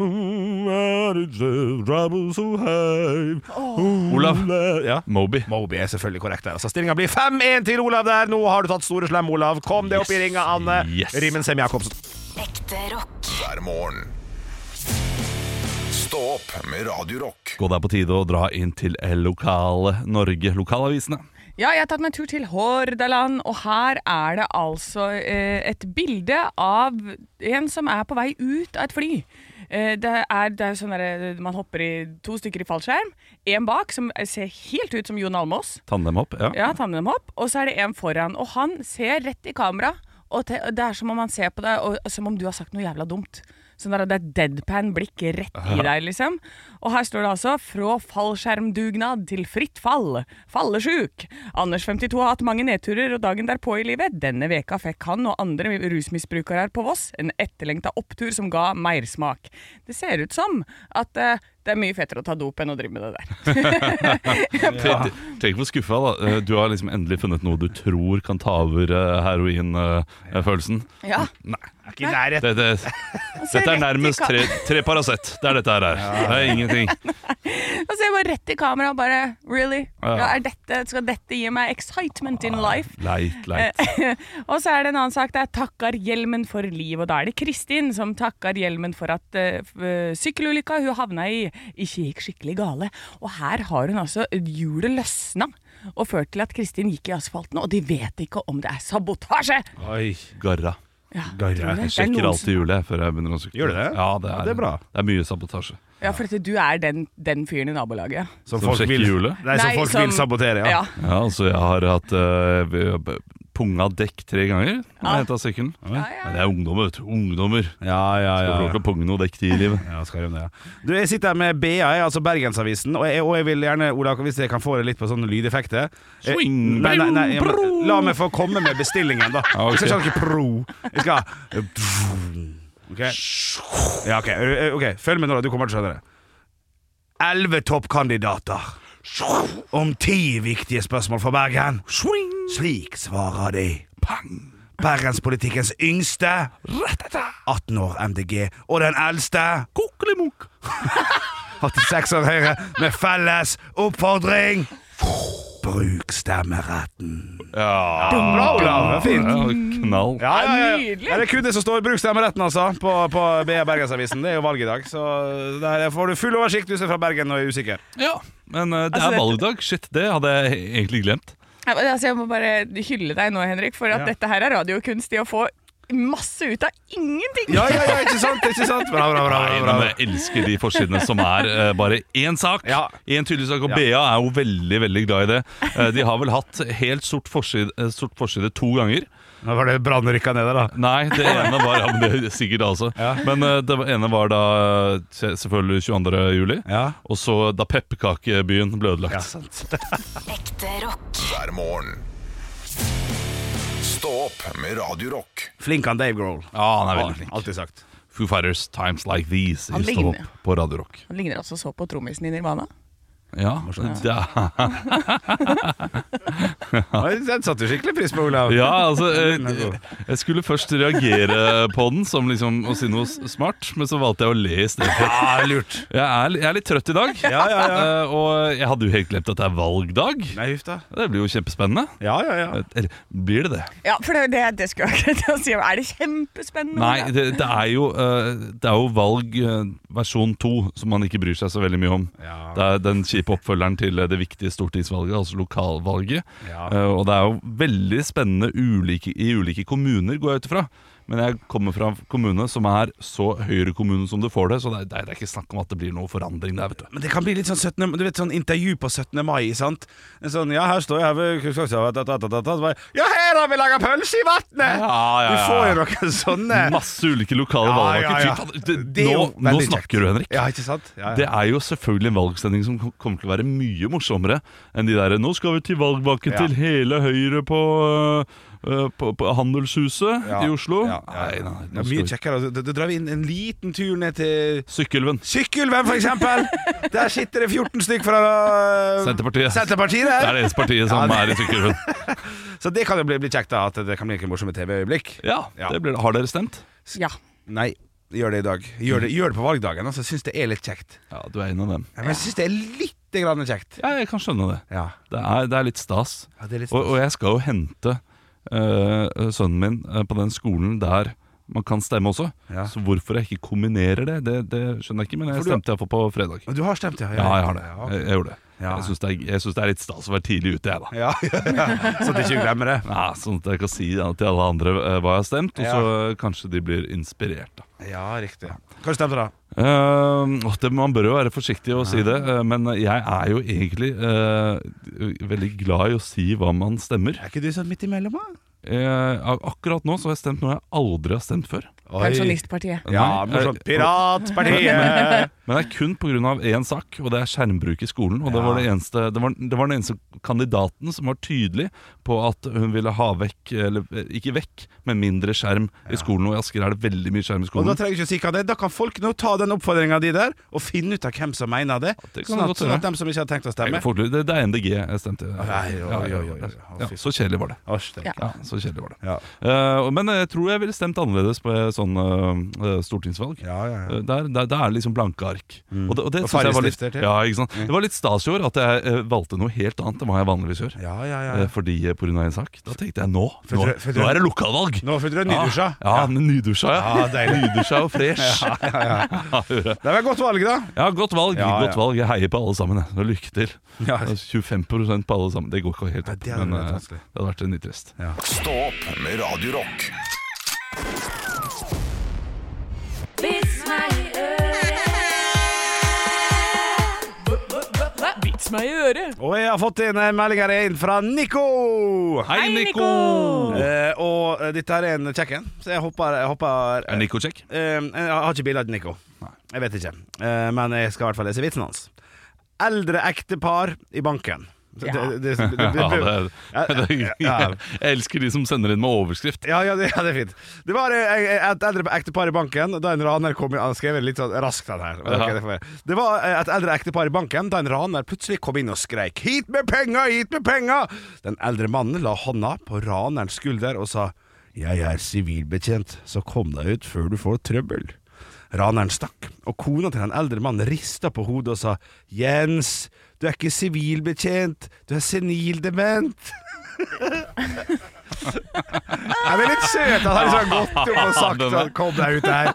[SPEAKER 3] <clears throat>
[SPEAKER 5] Olav.
[SPEAKER 3] Ja.
[SPEAKER 5] Moby.
[SPEAKER 3] Moby er selvfølgelig korrekt der. Altså, Stillinga blir 5-1 til Olav der. Nå har du tatt store slem, Olav. Kom deg opp i
[SPEAKER 5] Yes.
[SPEAKER 3] ringa, Anne.
[SPEAKER 5] Yes.
[SPEAKER 3] Rimmen Sem-Jacobsen.
[SPEAKER 9] hver morgen. Stå opp med Radio Rock.
[SPEAKER 5] Og det er på tide å dra inn til eh, lokale Norge, lokalavisene.
[SPEAKER 4] Ja, jeg har tatt meg en tur til Hordaland, og her er det altså eh, et bilde av en som er på vei ut av et fly. Eh, det er, det er sånn der, Man hopper i to stykker i fallskjerm. Én bak, som ser helt ut som Jon Almås.
[SPEAKER 5] Tandemhopp. Ja.
[SPEAKER 4] Ja, ta med dem opp. Og så er det en foran. Og han ser rett i kamera. Og te- det er som om han ser på deg, og som om du har sagt noe jævla dumt. Sånn der, Det er deadpan-blikk rett i deg, liksom. Og her står det altså 'Fra fallskjermdugnad til fritt fall'. Fallesjuk. Anders 52 har hatt mange nedturer, og dagen derpå i livet. Denne veka fikk han og andre rusmisbrukere her på Voss en etterlengta opptur som ga mersmak. Det ser ut som at eh, det er mye fetere å ta dop enn å drive med det der.
[SPEAKER 5] Tenk- Tenk hvor skuffa, da. Eh, Du har liksom endelig funnet noe du tror kan ta over eh, heroinfølelsen.
[SPEAKER 4] Ja.
[SPEAKER 5] Nei.
[SPEAKER 3] Ikke i nærheten.
[SPEAKER 5] Det, det, dette er nærmest tre, tre Paracet. Det er dette her. er. Det er ingenting.
[SPEAKER 4] <laughs> Og så Altså, jeg bare rett i kamera og bare Really?
[SPEAKER 5] Ja.
[SPEAKER 4] Ja, er dette, skal dette gi meg excitement in life?
[SPEAKER 5] Leit, leit.
[SPEAKER 4] Eh. Og så er det en annen sak. Det er 'takkar hjelmen for liv'. Og da er det Kristin som takker hjelmen for at eh, f- eh, sykkelulykka hun havna i, ikke gikk skikkelig gale. Og her har hun altså hjulet løsna og ført til at Kristin gikk i asfalten. Og de vet ikke om det er sabotasje!
[SPEAKER 3] Oi.
[SPEAKER 5] Garra.
[SPEAKER 4] Ja,
[SPEAKER 3] Garra.
[SPEAKER 4] tror du det?
[SPEAKER 5] Jeg
[SPEAKER 4] Det er
[SPEAKER 5] sjekker
[SPEAKER 4] noen som-
[SPEAKER 5] alltid hjulet før jeg begynner å sykle.
[SPEAKER 3] Gjør du det?
[SPEAKER 5] Ja, det er,
[SPEAKER 3] Ja, det er bra.
[SPEAKER 5] Det er mye sabotasje.
[SPEAKER 4] Ja, for at du er den, den fyren i nabolaget.
[SPEAKER 3] Som,
[SPEAKER 5] Som
[SPEAKER 3] folk
[SPEAKER 5] sjekker
[SPEAKER 3] vil,
[SPEAKER 5] hjulet?
[SPEAKER 3] Nei, som
[SPEAKER 4] Nei,
[SPEAKER 3] folk
[SPEAKER 4] som-
[SPEAKER 3] vil sabotere, ja.
[SPEAKER 4] Ja.
[SPEAKER 5] Ja, altså, jeg har hatt eh, vi- b- punga dekk tre ganger når jeg
[SPEAKER 4] Ja.
[SPEAKER 5] henta sykkelen.
[SPEAKER 4] Ja, ja.
[SPEAKER 5] Men det er ungdommer, vet du. Ungdommer.
[SPEAKER 3] Ja, ja,
[SPEAKER 5] Skal få lov til å punge noe dekk til i livet.
[SPEAKER 3] Ja, skal gjøre det, ja. Du, jeg sitter her med BA, altså Bergensavisen, og jeg, og jeg vil gjerne, Olav, hvis jeg kan få det litt på sånne lydeffekter Eh,
[SPEAKER 5] Swing,
[SPEAKER 3] nei, nei, nei, ja, men
[SPEAKER 5] bro.
[SPEAKER 3] La meg få komme med bestillingen, da.
[SPEAKER 5] <laughs> Ja, ok.
[SPEAKER 3] Jeg skal ikke ha noe pro. Jeg skal Ok. Ja, ok. Eh, ok, Følg med nå, da. Du kommer til å skjønne det. Elleve toppkandidater. Om ti viktige spørsmål for Bergen. Slik svarer de. Bergenspolitikkens yngste, 18 år MDG, og den eldste, 86 år Høyre med felles oppfordring Bruk stemmeretten.
[SPEAKER 5] Ja,
[SPEAKER 3] Bra, Olav. Det er Fint.
[SPEAKER 5] ja, knall.
[SPEAKER 3] Ja, ja, ja.
[SPEAKER 4] Nydelig.
[SPEAKER 3] Ja, Det er kun det som står 'bruk stemmeretten', altså, på, på BA Bergensavisen. Det er jo valg i dag, så der får du full oversikt hvis du er fra Bergen og er usikker.
[SPEAKER 5] Ja, men eh, det
[SPEAKER 4] Altså,
[SPEAKER 5] er
[SPEAKER 4] dette-
[SPEAKER 5] valgdag. Shit, det hadde jeg egentlig glemt.
[SPEAKER 4] Ja, men altså, jeg må bare hylle deg nå, Henrik, for at
[SPEAKER 3] Ja.
[SPEAKER 4] dette her er radiokunst i å få masse ut av ingenting.
[SPEAKER 3] Ja, ja, ja, ikke sant? ikke sant? Bra, bra, bra.
[SPEAKER 5] Nei,
[SPEAKER 3] bra,
[SPEAKER 5] men
[SPEAKER 3] bra.
[SPEAKER 5] jeg elsker de forsidene som er eh, bare én sak.
[SPEAKER 3] Ja.
[SPEAKER 5] Én tydelig sak. Og
[SPEAKER 3] Ja.
[SPEAKER 5] BA er jo veldig veldig glad i det. Eh, de har vel hatt helt sort forside, eh, sort forside to ganger.
[SPEAKER 3] Nå var det brannrykka nede, da.
[SPEAKER 5] Nei, det ene var ja, men det er sikkert altså. Men eh, det ene var da eh, selvfølgelig 22. juli.
[SPEAKER 3] Ja.
[SPEAKER 5] Og så da pepperkakebyen ble ødelagt.
[SPEAKER 9] hver morgen. Stå opp med Radio Rock.
[SPEAKER 3] Flink han Dave Grohl.
[SPEAKER 5] Ja, Ah, han er veldig flink.
[SPEAKER 3] Alltid sagt.
[SPEAKER 5] Foo Fighters, Times Like These
[SPEAKER 4] Han
[SPEAKER 5] i Stå
[SPEAKER 4] ligner.
[SPEAKER 5] opp på Radio Rock.
[SPEAKER 4] Han ligner altså så på trommisen i Nirvana.
[SPEAKER 5] Ja, det er
[SPEAKER 3] Oi, Den satte du skikkelig pris på, Olav.
[SPEAKER 5] Ja, altså
[SPEAKER 3] Den er
[SPEAKER 5] jeg,
[SPEAKER 3] god.
[SPEAKER 5] jeg skulle først reagere på den som liksom å si noe s- smart, men så valgte jeg å le i stedet.
[SPEAKER 3] Ja, lurt.
[SPEAKER 5] Jeg er, jeg er litt trøtt i dag,
[SPEAKER 3] Ja, ja, ja.
[SPEAKER 5] eh, og jeg hadde jo helt glemt at det er valgdag.
[SPEAKER 3] Nei, huff da.
[SPEAKER 5] Det blir jo kjempespennende.
[SPEAKER 3] Ja, ja, ja.
[SPEAKER 5] Eller blir det det?
[SPEAKER 4] Ja, for det, det, det skulle jeg <laughs> akkurat til å si. Er det kjempespennende?
[SPEAKER 5] Nei,
[SPEAKER 4] Olav?
[SPEAKER 5] det, det, er, jo, eh, det er jo valg eh, versjon to som man ikke bryr seg så veldig mye om.
[SPEAKER 3] Ja.
[SPEAKER 5] Det er den kjipe oppfølgeren til eh, det viktige stortingsvalget, altså lokalvalget.
[SPEAKER 3] Ja.
[SPEAKER 5] Eh, og det er jo veldig spennende ulike, i ulike kommuner, går jeg ut ifra. Men jeg kommer fra en kommune som er så høyrekommune som du får det, så det er, det er ikke snakk om at det blir noe forandring der, vet du.
[SPEAKER 3] Men det kan bli litt sånn 17, du vet, sånn intervju på 17. mai, sant? En Sånn, ja, her står jeg ved Kunnskapshavet da, da, da, da, da, så bare, Ja, her har vi laga pølse i vannet!
[SPEAKER 5] Ja, ja, ja.
[SPEAKER 3] Du får jo noen sånne
[SPEAKER 5] Masse ulike lokale
[SPEAKER 3] Ja,
[SPEAKER 5] valgvaker.
[SPEAKER 3] ja, ja.
[SPEAKER 5] Fy faen, det-
[SPEAKER 3] Det er jo
[SPEAKER 5] Nå, nå
[SPEAKER 3] veldig kjekt.
[SPEAKER 5] snakker du, Henrik.
[SPEAKER 3] Ja, ikke sant? Ja,
[SPEAKER 5] Det
[SPEAKER 3] ja.
[SPEAKER 5] er jo selvfølgelig en valgsending som kom- kommer til å være mye morsommere enn de derre 'Nå skal vi til valgvaken
[SPEAKER 3] Ja.
[SPEAKER 5] til hele Høyre på, øh, på, på Handelshuset
[SPEAKER 3] Ja,
[SPEAKER 5] i Oslo'.
[SPEAKER 3] Ja, ja, ja.
[SPEAKER 5] Nei, nei,
[SPEAKER 3] det
[SPEAKER 5] nå
[SPEAKER 3] er
[SPEAKER 5] skal
[SPEAKER 3] mye
[SPEAKER 5] vi
[SPEAKER 3] kjekkere. Altså, Da- Da, da drar vi inn en liten tur ned til
[SPEAKER 5] Sykkylven.
[SPEAKER 3] Sykkylven, for eksempel! Der sitter det 14 stykk fra øh,
[SPEAKER 5] Senterpartiet.
[SPEAKER 3] Senterpartiet
[SPEAKER 5] Det er
[SPEAKER 3] der.
[SPEAKER 5] det eneste partiet som
[SPEAKER 3] Ja,
[SPEAKER 5] er i
[SPEAKER 3] <laughs>
[SPEAKER 5] Sykkylven.
[SPEAKER 3] Så det kan jo bli, bli kjekt, da. At det kan bli noen morsomme TV-øyeblikk.
[SPEAKER 5] Ja,
[SPEAKER 3] Ja.
[SPEAKER 5] det blir det. Har dere stemt?
[SPEAKER 4] Ja.
[SPEAKER 3] Nei. Gjør det i dag. Gjør det, gjør det på valgdagen. Altså, syns det er litt kjekt.
[SPEAKER 5] Ja, du er en av dem.
[SPEAKER 3] Ja, men jeg syns det er lite grann kjekt.
[SPEAKER 5] Ja, jeg kan skjønne det.
[SPEAKER 3] Ja.
[SPEAKER 5] Det er, det er litt stas.
[SPEAKER 3] Ja, det er litt
[SPEAKER 5] Og, og jeg skal jo hente eh, sønnen min eh, på den skolen der man kan stemme også.
[SPEAKER 3] Ja.
[SPEAKER 5] Så hvorfor jeg ikke kombinerer det, det, det skjønner jeg ikke. Men jeg
[SPEAKER 3] For du-
[SPEAKER 5] stemte iallfall på fredag.
[SPEAKER 3] Og du har stemt, ja?
[SPEAKER 5] Ja, jeg har det. Jeg, jeg gjorde det.
[SPEAKER 3] Ja.
[SPEAKER 5] Jeg syns det, er- jeg synes det er litt stas å være tidlig ute, jeg, da.
[SPEAKER 3] Ja, <laughs> ja, ja. Så at jeg ikke glemmer det.
[SPEAKER 5] Ja, sånn at jeg kan si ja, til alle andre eh, hva jeg har stemt, og så eh, kanskje de blir inspirert. da
[SPEAKER 3] Ja, riktig. Hva stemte du, da?
[SPEAKER 5] Eh, åh, det, man bør jo være forsiktig å si det, eh, men jeg er jo egentlig eh, veldig glad i å si hva man stemmer.
[SPEAKER 3] Er ikke du sånn midt imellom, da?
[SPEAKER 5] Eh, ak- akkurat nå så har jeg stemt noe jeg aldri har stemt før.
[SPEAKER 4] Pensjonistpartiet.
[SPEAKER 3] Ja,
[SPEAKER 5] Nei, eh,
[SPEAKER 3] morsomt. Piratpartiet!
[SPEAKER 5] <laughs> Men det er kun pga. én sak, og det er skjermbruk i skolen. Og det, var det, eneste, det, var, det var den eneste kandidaten som var tydelig på at hun ville ha vekk, eller eh, ikke vekk, men mindre skjerm i skolen. Og i Asker er det veldig mye skjerm
[SPEAKER 3] Og
[SPEAKER 5] i
[SPEAKER 3] Da
[SPEAKER 5] skolen.
[SPEAKER 3] trenger jeg ikke å si hva det er Da kan folk nå ta den oppfordringa di der, og finne ut av hvem som mener det.
[SPEAKER 5] det kan
[SPEAKER 3] sånn,
[SPEAKER 5] godt
[SPEAKER 3] at, sånn
[SPEAKER 5] være.
[SPEAKER 3] at dem som ikke har tenkt å
[SPEAKER 5] Jeg
[SPEAKER 3] stemme
[SPEAKER 5] kan fort- Det, det er NDG jeg stemte.
[SPEAKER 3] Nei, oi, oi, oi, oi.
[SPEAKER 5] Ja, så kjedelig var det.
[SPEAKER 3] Asj, det-
[SPEAKER 4] Ja.
[SPEAKER 5] Ja, så kjedelig var det.
[SPEAKER 3] Ja.
[SPEAKER 5] Eh, og- men jeg tror jeg ville stemt annerledes på sånn eh, eh, stortingsvalg.
[SPEAKER 3] Ja, ja, ja. Mm.
[SPEAKER 5] Eh, Der, der, der er det liksom blanke ark. Og det, og det
[SPEAKER 3] Og
[SPEAKER 5] synes jeg var litt,
[SPEAKER 3] fargestifter til. Mm.
[SPEAKER 5] ja, ikke sant? Det var litt stas i år at jeg eh, valgte noe helt annet enn hva jeg vanligvis gjør.
[SPEAKER 3] Ja, ja, ja.
[SPEAKER 5] Eh, Fordi eh, på grunn av en sak. Da tenkte jeg nå, nå,
[SPEAKER 3] Følte du- følte du-
[SPEAKER 5] nå er det lokalvalg!
[SPEAKER 3] Nå følte du deg nydusja.
[SPEAKER 5] Ja, ja, nydusja, ja.
[SPEAKER 3] Ja, deilig.
[SPEAKER 5] Nydusja og
[SPEAKER 3] <laughs>
[SPEAKER 5] fresh. <laughs>
[SPEAKER 3] Det var et godt valg, da.
[SPEAKER 5] Ja, godt valg.
[SPEAKER 3] Ja, ja.
[SPEAKER 5] godt valg. Jeg heier på alle sammen. jeg. Og lykke til.
[SPEAKER 3] Ja.
[SPEAKER 5] 25 på alle sammen. Det går ikke helt opp.
[SPEAKER 3] det hadde vært
[SPEAKER 5] eh,
[SPEAKER 3] vanskelig.
[SPEAKER 5] det hadde vært litt trist.
[SPEAKER 9] Stå opp med Radio Rock.
[SPEAKER 4] Vits meg i øret!
[SPEAKER 3] Og jeg har fått inn en melding her inn fra Nico.
[SPEAKER 5] Hei, Nico!
[SPEAKER 3] Eh, og eh, dette her er en kjekk en, så jeg hopper, jeg hopper
[SPEAKER 5] Er Nico kjekk?
[SPEAKER 3] Eh, Jeg har ikke bilde av Nico. Jeg vet ikke. Eh, men jeg skal i hvert fall lese vitsen hans. Eldre ektepar i banken. Så
[SPEAKER 4] Ja.
[SPEAKER 3] det, det, det,
[SPEAKER 5] <laughs> Ja,
[SPEAKER 3] det,
[SPEAKER 5] det, <laughs> det,
[SPEAKER 3] Eh, <laughs> Ja.
[SPEAKER 5] jeg elsker de som sender inn med overskrift.
[SPEAKER 3] Ja, ja, det, ja, det er fint. Det var eh, et eldre ektepar i banken da en raner kom inn Han skrev det litt sånn raskt, den her. Men ok,
[SPEAKER 5] Ja.
[SPEAKER 3] det, får jeg. det var eh, et eldre ektepar i banken da en raner plutselig kom inn og skreik 'Hit med penga! Hit med penga!' Den eldre mannen la hånda på ranerens skulder og sa 'Jeg er sivilbetjent, så kom deg ut før du får trøbbel'. Raneren stakk, og kona til den eldre mannen rista på hodet og sa 'Jens, du er ikke sivilbetjent, du er senildement'. Ja, det er litt søt at han liksom har gått opp og sagt
[SPEAKER 5] Den er-
[SPEAKER 3] sånn, Kom deg ut her.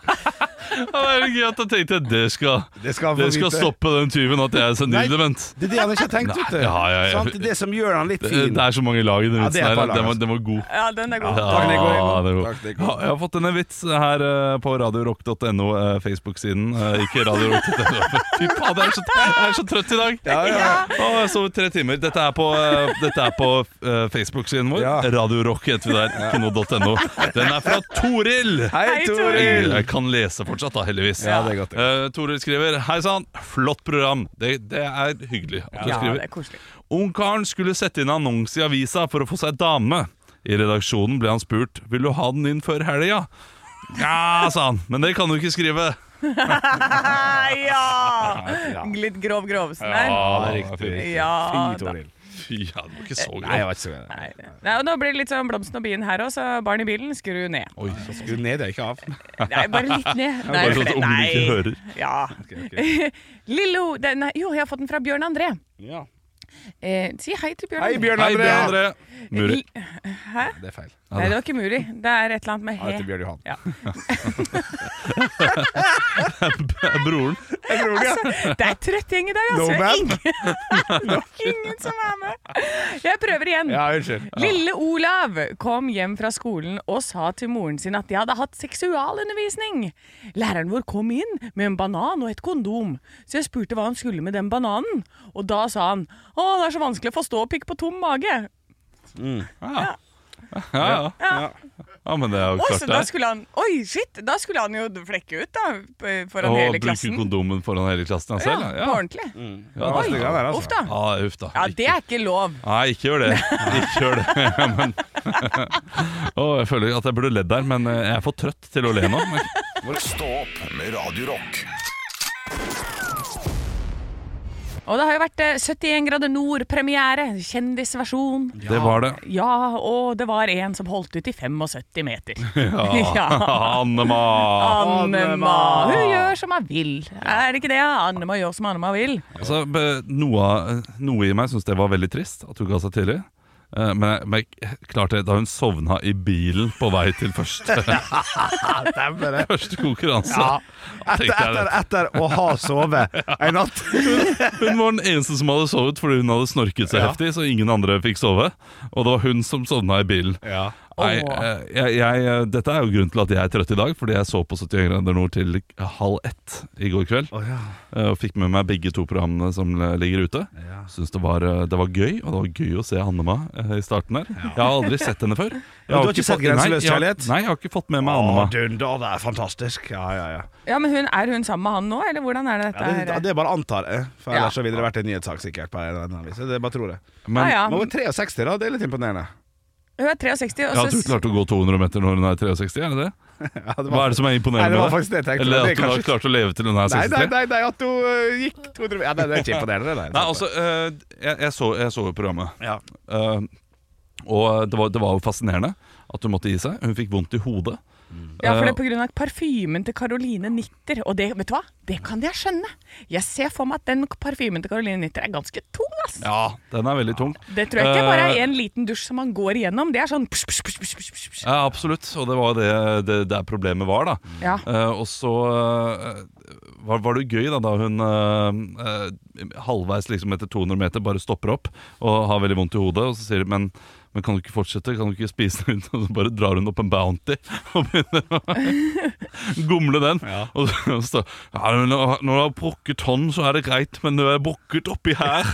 [SPEAKER 5] Ja, det er jo gøy at jeg tenkte det skal,
[SPEAKER 3] Det skal han få
[SPEAKER 5] det skal
[SPEAKER 3] vite.
[SPEAKER 5] stoppe den tyven at jeg er senildement.
[SPEAKER 3] Det er det han ikke har tenkt
[SPEAKER 5] Nei,
[SPEAKER 3] ut til.
[SPEAKER 5] ja, ja, ja.
[SPEAKER 3] Sant? Det er det som gjør han litt
[SPEAKER 5] Det,
[SPEAKER 3] fin.
[SPEAKER 5] det er så mange lag i den
[SPEAKER 3] Ja, det
[SPEAKER 5] vitsen
[SPEAKER 3] er et
[SPEAKER 5] her.
[SPEAKER 3] par
[SPEAKER 5] at Den
[SPEAKER 3] lag,
[SPEAKER 5] var, den var god.
[SPEAKER 4] Ja, den er god.
[SPEAKER 3] Takk, Nico.
[SPEAKER 5] Ja, det er god.
[SPEAKER 3] Takk, Nico.
[SPEAKER 5] Ja, jeg har fått en vits her eh, på radiorock.no, eh, Facebook-siden. eh, Ikke radiorock.no. <laughs> Fy faen, jeg er, så, jeg er så trøtt i dag! Ja, jeg har sovet tre timer. Dette er på, eh, dette er på eh, Facebook-siden vår.
[SPEAKER 3] Ja.
[SPEAKER 5] Radiorock heter vi der. Ikke noe.no. Den er fra Toril!
[SPEAKER 3] Hei,
[SPEAKER 4] Hei,
[SPEAKER 3] Toril!
[SPEAKER 5] Jeg kan lese fortsatt, da, heldigvis.
[SPEAKER 3] Ja, det er godt, det
[SPEAKER 5] Eh, Toril skriver Hei sann, flott program. Det, det er hyggelig. at du
[SPEAKER 4] Ja,
[SPEAKER 5] skriver.
[SPEAKER 4] det er koselig.
[SPEAKER 5] Ungkaren skulle sette inn annonse i avisa for å få seg dame. I redaksjonen ble han spurt Vil du ha den inn før helga. Ja, sa han, men det kan du ikke skrive.
[SPEAKER 4] Ah, ja! Litt grov grovsen her.
[SPEAKER 5] Ja, det er riktig.
[SPEAKER 4] Ja
[SPEAKER 3] Fy,
[SPEAKER 4] da.
[SPEAKER 3] Toril.
[SPEAKER 5] Ah, Fy, ja, det var ikke så
[SPEAKER 3] Nei, jeg
[SPEAKER 5] gøy.
[SPEAKER 3] var ikke så god.
[SPEAKER 4] Nei, Nei, og nå blir det litt sånn blomsten og bien her òg, så barn i bilen, skru ned.
[SPEAKER 5] Oi,
[SPEAKER 3] Skru ned, det er ikke av.
[SPEAKER 4] Nei, bare litt ned. Nei,
[SPEAKER 5] bare
[SPEAKER 4] for
[SPEAKER 5] sånn at
[SPEAKER 4] det-
[SPEAKER 5] ungene ikke
[SPEAKER 4] nei.
[SPEAKER 5] hører.
[SPEAKER 4] Ja. <laughs> Lille ho... det- Nei, jo, jeg har fått den fra Bjørn André.
[SPEAKER 3] Ja.
[SPEAKER 4] Eh, si hei til Bjørn
[SPEAKER 3] Hei,
[SPEAKER 4] André.
[SPEAKER 3] Bjørn
[SPEAKER 5] Hei,
[SPEAKER 3] André.
[SPEAKER 5] Bjørn André.
[SPEAKER 4] <laughs>
[SPEAKER 5] Muri.
[SPEAKER 4] Li- Hæ?
[SPEAKER 3] Det er feil.
[SPEAKER 4] Nei, det var ikke Muri. Det er et eller annet med
[SPEAKER 3] Han
[SPEAKER 4] <laughs>
[SPEAKER 3] heter
[SPEAKER 4] he.
[SPEAKER 3] Bjørn Johan.
[SPEAKER 4] Ja.
[SPEAKER 5] Broren.
[SPEAKER 3] Jeg tror det, ja.
[SPEAKER 4] Altså, Det er trøtt gjeng i dag,
[SPEAKER 3] No
[SPEAKER 4] altså. <laughs>
[SPEAKER 3] man.
[SPEAKER 4] Ingen som er med. Jeg prøver igjen.
[SPEAKER 3] Ja, unnskyld.
[SPEAKER 4] Lille Olav kom hjem fra skolen og sa til moren sin at de hadde hatt seksualundervisning. Læreren vår kom inn med en banan og et kondom, så jeg spurte hva han skulle med den bananen. Og da sa han å, det er så vanskelig å få ståpikk på tom mage.
[SPEAKER 5] Ja, ja. ja, men det er jo
[SPEAKER 4] Og så da
[SPEAKER 5] klart, det.
[SPEAKER 4] skulle han, oi shit, da skulle han jo flekke ut da, p-
[SPEAKER 5] Å
[SPEAKER 4] foran hele
[SPEAKER 5] bruke
[SPEAKER 4] klassen.
[SPEAKER 5] kondomen foran hele klassen
[SPEAKER 4] Ja,
[SPEAKER 5] selv.
[SPEAKER 4] på ordentlig.
[SPEAKER 5] Ja,
[SPEAKER 3] Oi.
[SPEAKER 5] det-
[SPEAKER 3] Ja, det er altså.
[SPEAKER 4] Uff da.
[SPEAKER 5] ja, uff da.
[SPEAKER 4] Ja, det er ikke lov.
[SPEAKER 5] Nei, ikke
[SPEAKER 3] <laughs>
[SPEAKER 5] gjør det. Ikke gjør det. <laughs> men, Å, jeg føler at jeg burde ledd der, men eh, jeg er for trøtt til å le nå.
[SPEAKER 3] <laughs>
[SPEAKER 5] Men
[SPEAKER 9] Stå opp med Radio Rock.
[SPEAKER 4] Og det har jo vært eh, 71 grader nord-premiere, kjendisversjon.
[SPEAKER 5] Det var det.
[SPEAKER 4] Ja, og det var en som holdt ut i 75 meter. <laughs> Ja.
[SPEAKER 5] Annema!
[SPEAKER 4] Annema. Hun gjør som hun vil. Er det ikke det? Annema gjør som Annema vil.
[SPEAKER 5] Altså, be- noe, av- noe i meg syns det var veldig trist at hun ga seg tidlig. Eh, Men, jeg- men jeg- klart det, da hun sovna i bilen på vei til
[SPEAKER 3] <laughs>
[SPEAKER 5] første,
[SPEAKER 3] Stemmer det.
[SPEAKER 5] <laughs> første konkurranse
[SPEAKER 3] Ja.
[SPEAKER 5] tenkte
[SPEAKER 3] Etter,
[SPEAKER 5] jeg
[SPEAKER 3] etter, etter å ha
[SPEAKER 5] <laughs>
[SPEAKER 3] sovet en natt.
[SPEAKER 5] Hun var den eneste som hadde sovet fordi hun hadde snorket så heftig, så ingen andre fikk sove. Og det var hun som sovna i bilen.
[SPEAKER 3] Ja.
[SPEAKER 5] Nei, eh, jeg, jeg, eh, dette er jo grunnen til at jeg er trøtt i dag, fordi jeg så på 71 grader nord til halv ett i går kveld. eh, Og fikk med meg begge to programmene som eh, ligger ute. Syns det var, eh, det var gøy, og det var gøy å se Annema eh, i starten der. Jeg har aldri sett henne
[SPEAKER 3] <laughs>
[SPEAKER 5] før. Jeg
[SPEAKER 3] du har ikke sett
[SPEAKER 5] fått- nei,
[SPEAKER 3] Grenseløs
[SPEAKER 5] jeg har-
[SPEAKER 3] kjærlighet?
[SPEAKER 5] Nei, jeg har ikke fått med meg
[SPEAKER 3] Å,
[SPEAKER 5] Annema.
[SPEAKER 3] dunder, det er fantastisk. Ja, ja, ja.
[SPEAKER 4] Ja, men hun, Er hun sammen med han nå, eller hvordan er det dette
[SPEAKER 3] Ja, det,
[SPEAKER 4] her?
[SPEAKER 3] det er bare antar jeg, for
[SPEAKER 4] Ja.
[SPEAKER 3] ellers så ville det vært en nyhetssak sikkert. på en eller annen vis. Det er bare tror jeg.
[SPEAKER 5] Men
[SPEAKER 4] ja,
[SPEAKER 3] Men
[SPEAKER 4] ja.
[SPEAKER 3] over 63, da, det er litt imponerende. <laughs>
[SPEAKER 4] Hun er 63,
[SPEAKER 5] jeg har
[SPEAKER 4] og
[SPEAKER 5] ikke
[SPEAKER 4] så
[SPEAKER 5] klart å gå 200 meter når hun er 63, er det det?
[SPEAKER 3] Ja, det
[SPEAKER 5] Hva er det som er
[SPEAKER 3] Nei,
[SPEAKER 5] imponerende
[SPEAKER 3] det var
[SPEAKER 5] med
[SPEAKER 3] faktisk det jeg tenkte.
[SPEAKER 5] Eller
[SPEAKER 3] Det er
[SPEAKER 5] at hun har
[SPEAKER 3] kanskje-
[SPEAKER 5] klart å leve til hun er
[SPEAKER 3] Nei, nei,
[SPEAKER 5] 63?
[SPEAKER 3] nei, nei, at hun øh, gikk 200 meter. Ja, nei, det er ikke imponerende. det,
[SPEAKER 5] Nei, altså, eh, jeg, jeg, så, jeg så jo programmet.
[SPEAKER 3] Ja.
[SPEAKER 5] Eh, og eh, det var, det var jo fascinerende at hun måtte gi seg. Hun fikk vondt i hodet.
[SPEAKER 4] Ja, for det er pga. parfymen til Caroline Nitter. Og det, vet du hva? Det kan jeg skjønne. Jeg ser for meg at den parfymen til Caroline Nitter er ganske tung, ass.
[SPEAKER 5] Ja, den er veldig tung.
[SPEAKER 4] Det tror jeg ikke bare
[SPEAKER 5] Eh,
[SPEAKER 4] er en liten dusj som man går igjennom. Det er sånn psh, psh, psh, psh, psh, psh, psh.
[SPEAKER 5] Ja, absolutt. Og det var jo det, det der problemet var, da.
[SPEAKER 4] Ja.
[SPEAKER 5] Eh, og så eh, var, var det jo gøy da, da hun eh, eh, halvveis liksom etter 200 meter bare stopper opp og har veldig vondt i hodet. Og så sier de men, men kan du ikke fortsette, kan du ikke spise <laughs> den? Og så bare drar hun opp en Bounty og begynner å gomle den. Og så så står ja, men når når du har brukket hånden, så er det greit, men når du er brukket oppi
[SPEAKER 4] <laughs>
[SPEAKER 5] her,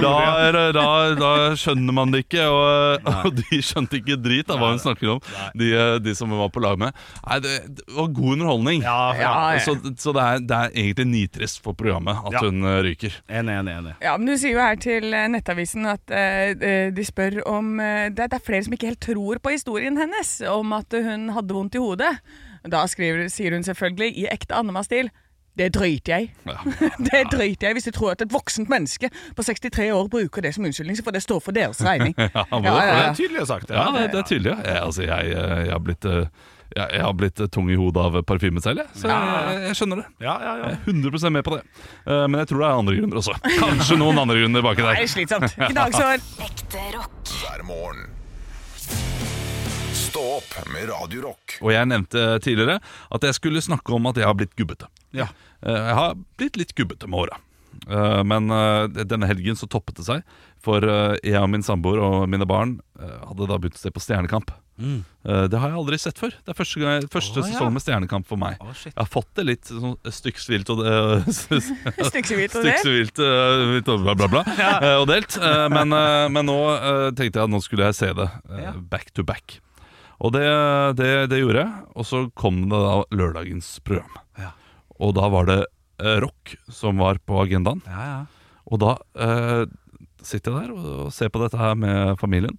[SPEAKER 5] da, er det, da, da skjønner man det ikke. Og, <laughs> og de skjønte ikke drit av hva hun snakker om, de, eh, de som hun var på lag med. Nei, det, det var god underholdning.
[SPEAKER 4] Ja, ja.
[SPEAKER 5] Så, så det, er, det er egentlig nitrist for programmet at hun eh, ryker.
[SPEAKER 3] Enig, enig, enig.
[SPEAKER 4] Ja, men Du sier jo her til eh, Nettavisen at eh, eh, de spør om eh, det, det er flere som ikke helt tror på historien hennes om at hun hadde vondt i hodet. Da skriver, sier hun selvfølgelig i ekte Annema-stil det drøyter jeg. <laughs> Det drøyter jeg hvis du tror at et voksent menneske på 63 år bruker det som unnskyldning, så får det stå for deres regning.
[SPEAKER 5] <laughs> Ja, må det.
[SPEAKER 4] Ja,
[SPEAKER 3] Det
[SPEAKER 4] ja,
[SPEAKER 3] er tydelig sagt.
[SPEAKER 5] ja det, det er tydelig. ja. Jeg, altså, jeg, eh, jeg har blitt eh, jeg, jeg har blitt eh, tung i hodet av parfyme selv, jeg. så jeg, jeg skjønner det.
[SPEAKER 3] Ja, ja, ja.
[SPEAKER 5] Jeg er 100 med på det. Eh, Men jeg tror det er andre grunner også. Kanskje noen andre grunner baki
[SPEAKER 4] Det
[SPEAKER 5] der.
[SPEAKER 4] er slitsomt.
[SPEAKER 5] <laughs>
[SPEAKER 4] Gnagsår.
[SPEAKER 12] Ekte rock.
[SPEAKER 9] hver morgen. Stå opp med Radio Rock.
[SPEAKER 5] Og jeg nevnte tidligere at jeg skulle snakke om at jeg har blitt gubbete.
[SPEAKER 3] Ja.
[SPEAKER 5] Eh, Jeg har blitt litt gubbete med åra. Eh, Men eh, denne helgen så toppet det seg, for eh, jeg og min samboer og mine barn eh, hadde da begynt å se på Stjernekamp. Eh, Det har jeg aldri sett før. Det er første, gang, første sesong med Stjernekamp for meg. jeg har fått det litt sånn stykksvilt og det <laughs>
[SPEAKER 4] Stykksevidt og det.
[SPEAKER 5] Stykkevilt uh, litt og bla, bla,
[SPEAKER 3] <laughs>
[SPEAKER 5] bla. eh, og delt. Eh, men, eh, men nå eh, tenkte jeg at nå skulle jeg se det eh, back to back. Og det, det, det gjorde jeg. Og så kom det da lørdagens program. Og da var det eh, rock som var på agendaen. Og da eh, sitter jeg der og, og ser på dette her med familien,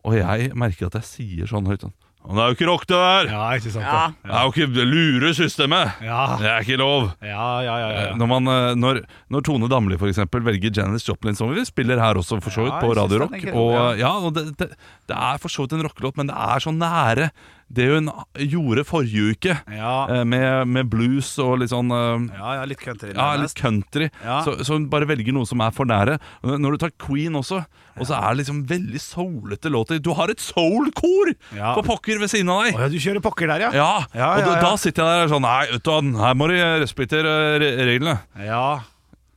[SPEAKER 5] og jeg merker at jeg sier sånn høyt sånn «Å, Det er jo ikke rock, det der!
[SPEAKER 3] Ja, ikke sant?
[SPEAKER 4] Ja.
[SPEAKER 3] da.
[SPEAKER 5] Det er jo ikke det lurer systemet!
[SPEAKER 3] Ja.
[SPEAKER 5] Det er ikke lov!
[SPEAKER 3] Ja, ja, ja. ja,
[SPEAKER 5] Eh,
[SPEAKER 3] ja.
[SPEAKER 5] Når, man, eh, når, når Tone Damli for eksempel velger Janis Joplin, som vi spiller her også, for så vidt,
[SPEAKER 3] Ja,
[SPEAKER 5] på
[SPEAKER 3] jeg synes
[SPEAKER 5] Radio
[SPEAKER 3] den er
[SPEAKER 5] Rock
[SPEAKER 3] grei,
[SPEAKER 5] og,
[SPEAKER 3] ja.
[SPEAKER 5] eh, ja, og det, det, det er for så vidt en rockelåt, men det er så nære det hun gjorde forrige uke,
[SPEAKER 3] Ja,
[SPEAKER 5] eh, med, med blues og litt sånn eh,
[SPEAKER 3] ja, ja litt country.
[SPEAKER 5] ja, litt country.
[SPEAKER 3] Ja.
[SPEAKER 5] Så, så hun bare velger noe som er for nære. Når når du tar Queen også, og så er det liksom veldig soulete låter. Du har et soul-kor
[SPEAKER 3] Ja.
[SPEAKER 5] på pokker ved siden av deg!
[SPEAKER 3] Å ja, du kjører pokker der, ja?
[SPEAKER 5] Ja,
[SPEAKER 3] Ja,
[SPEAKER 5] og
[SPEAKER 3] ja,
[SPEAKER 5] da-
[SPEAKER 3] ja.
[SPEAKER 5] da sitter jeg der sånn Nei, vet du hva, her må de respektere eh, re- reglene.
[SPEAKER 3] ja.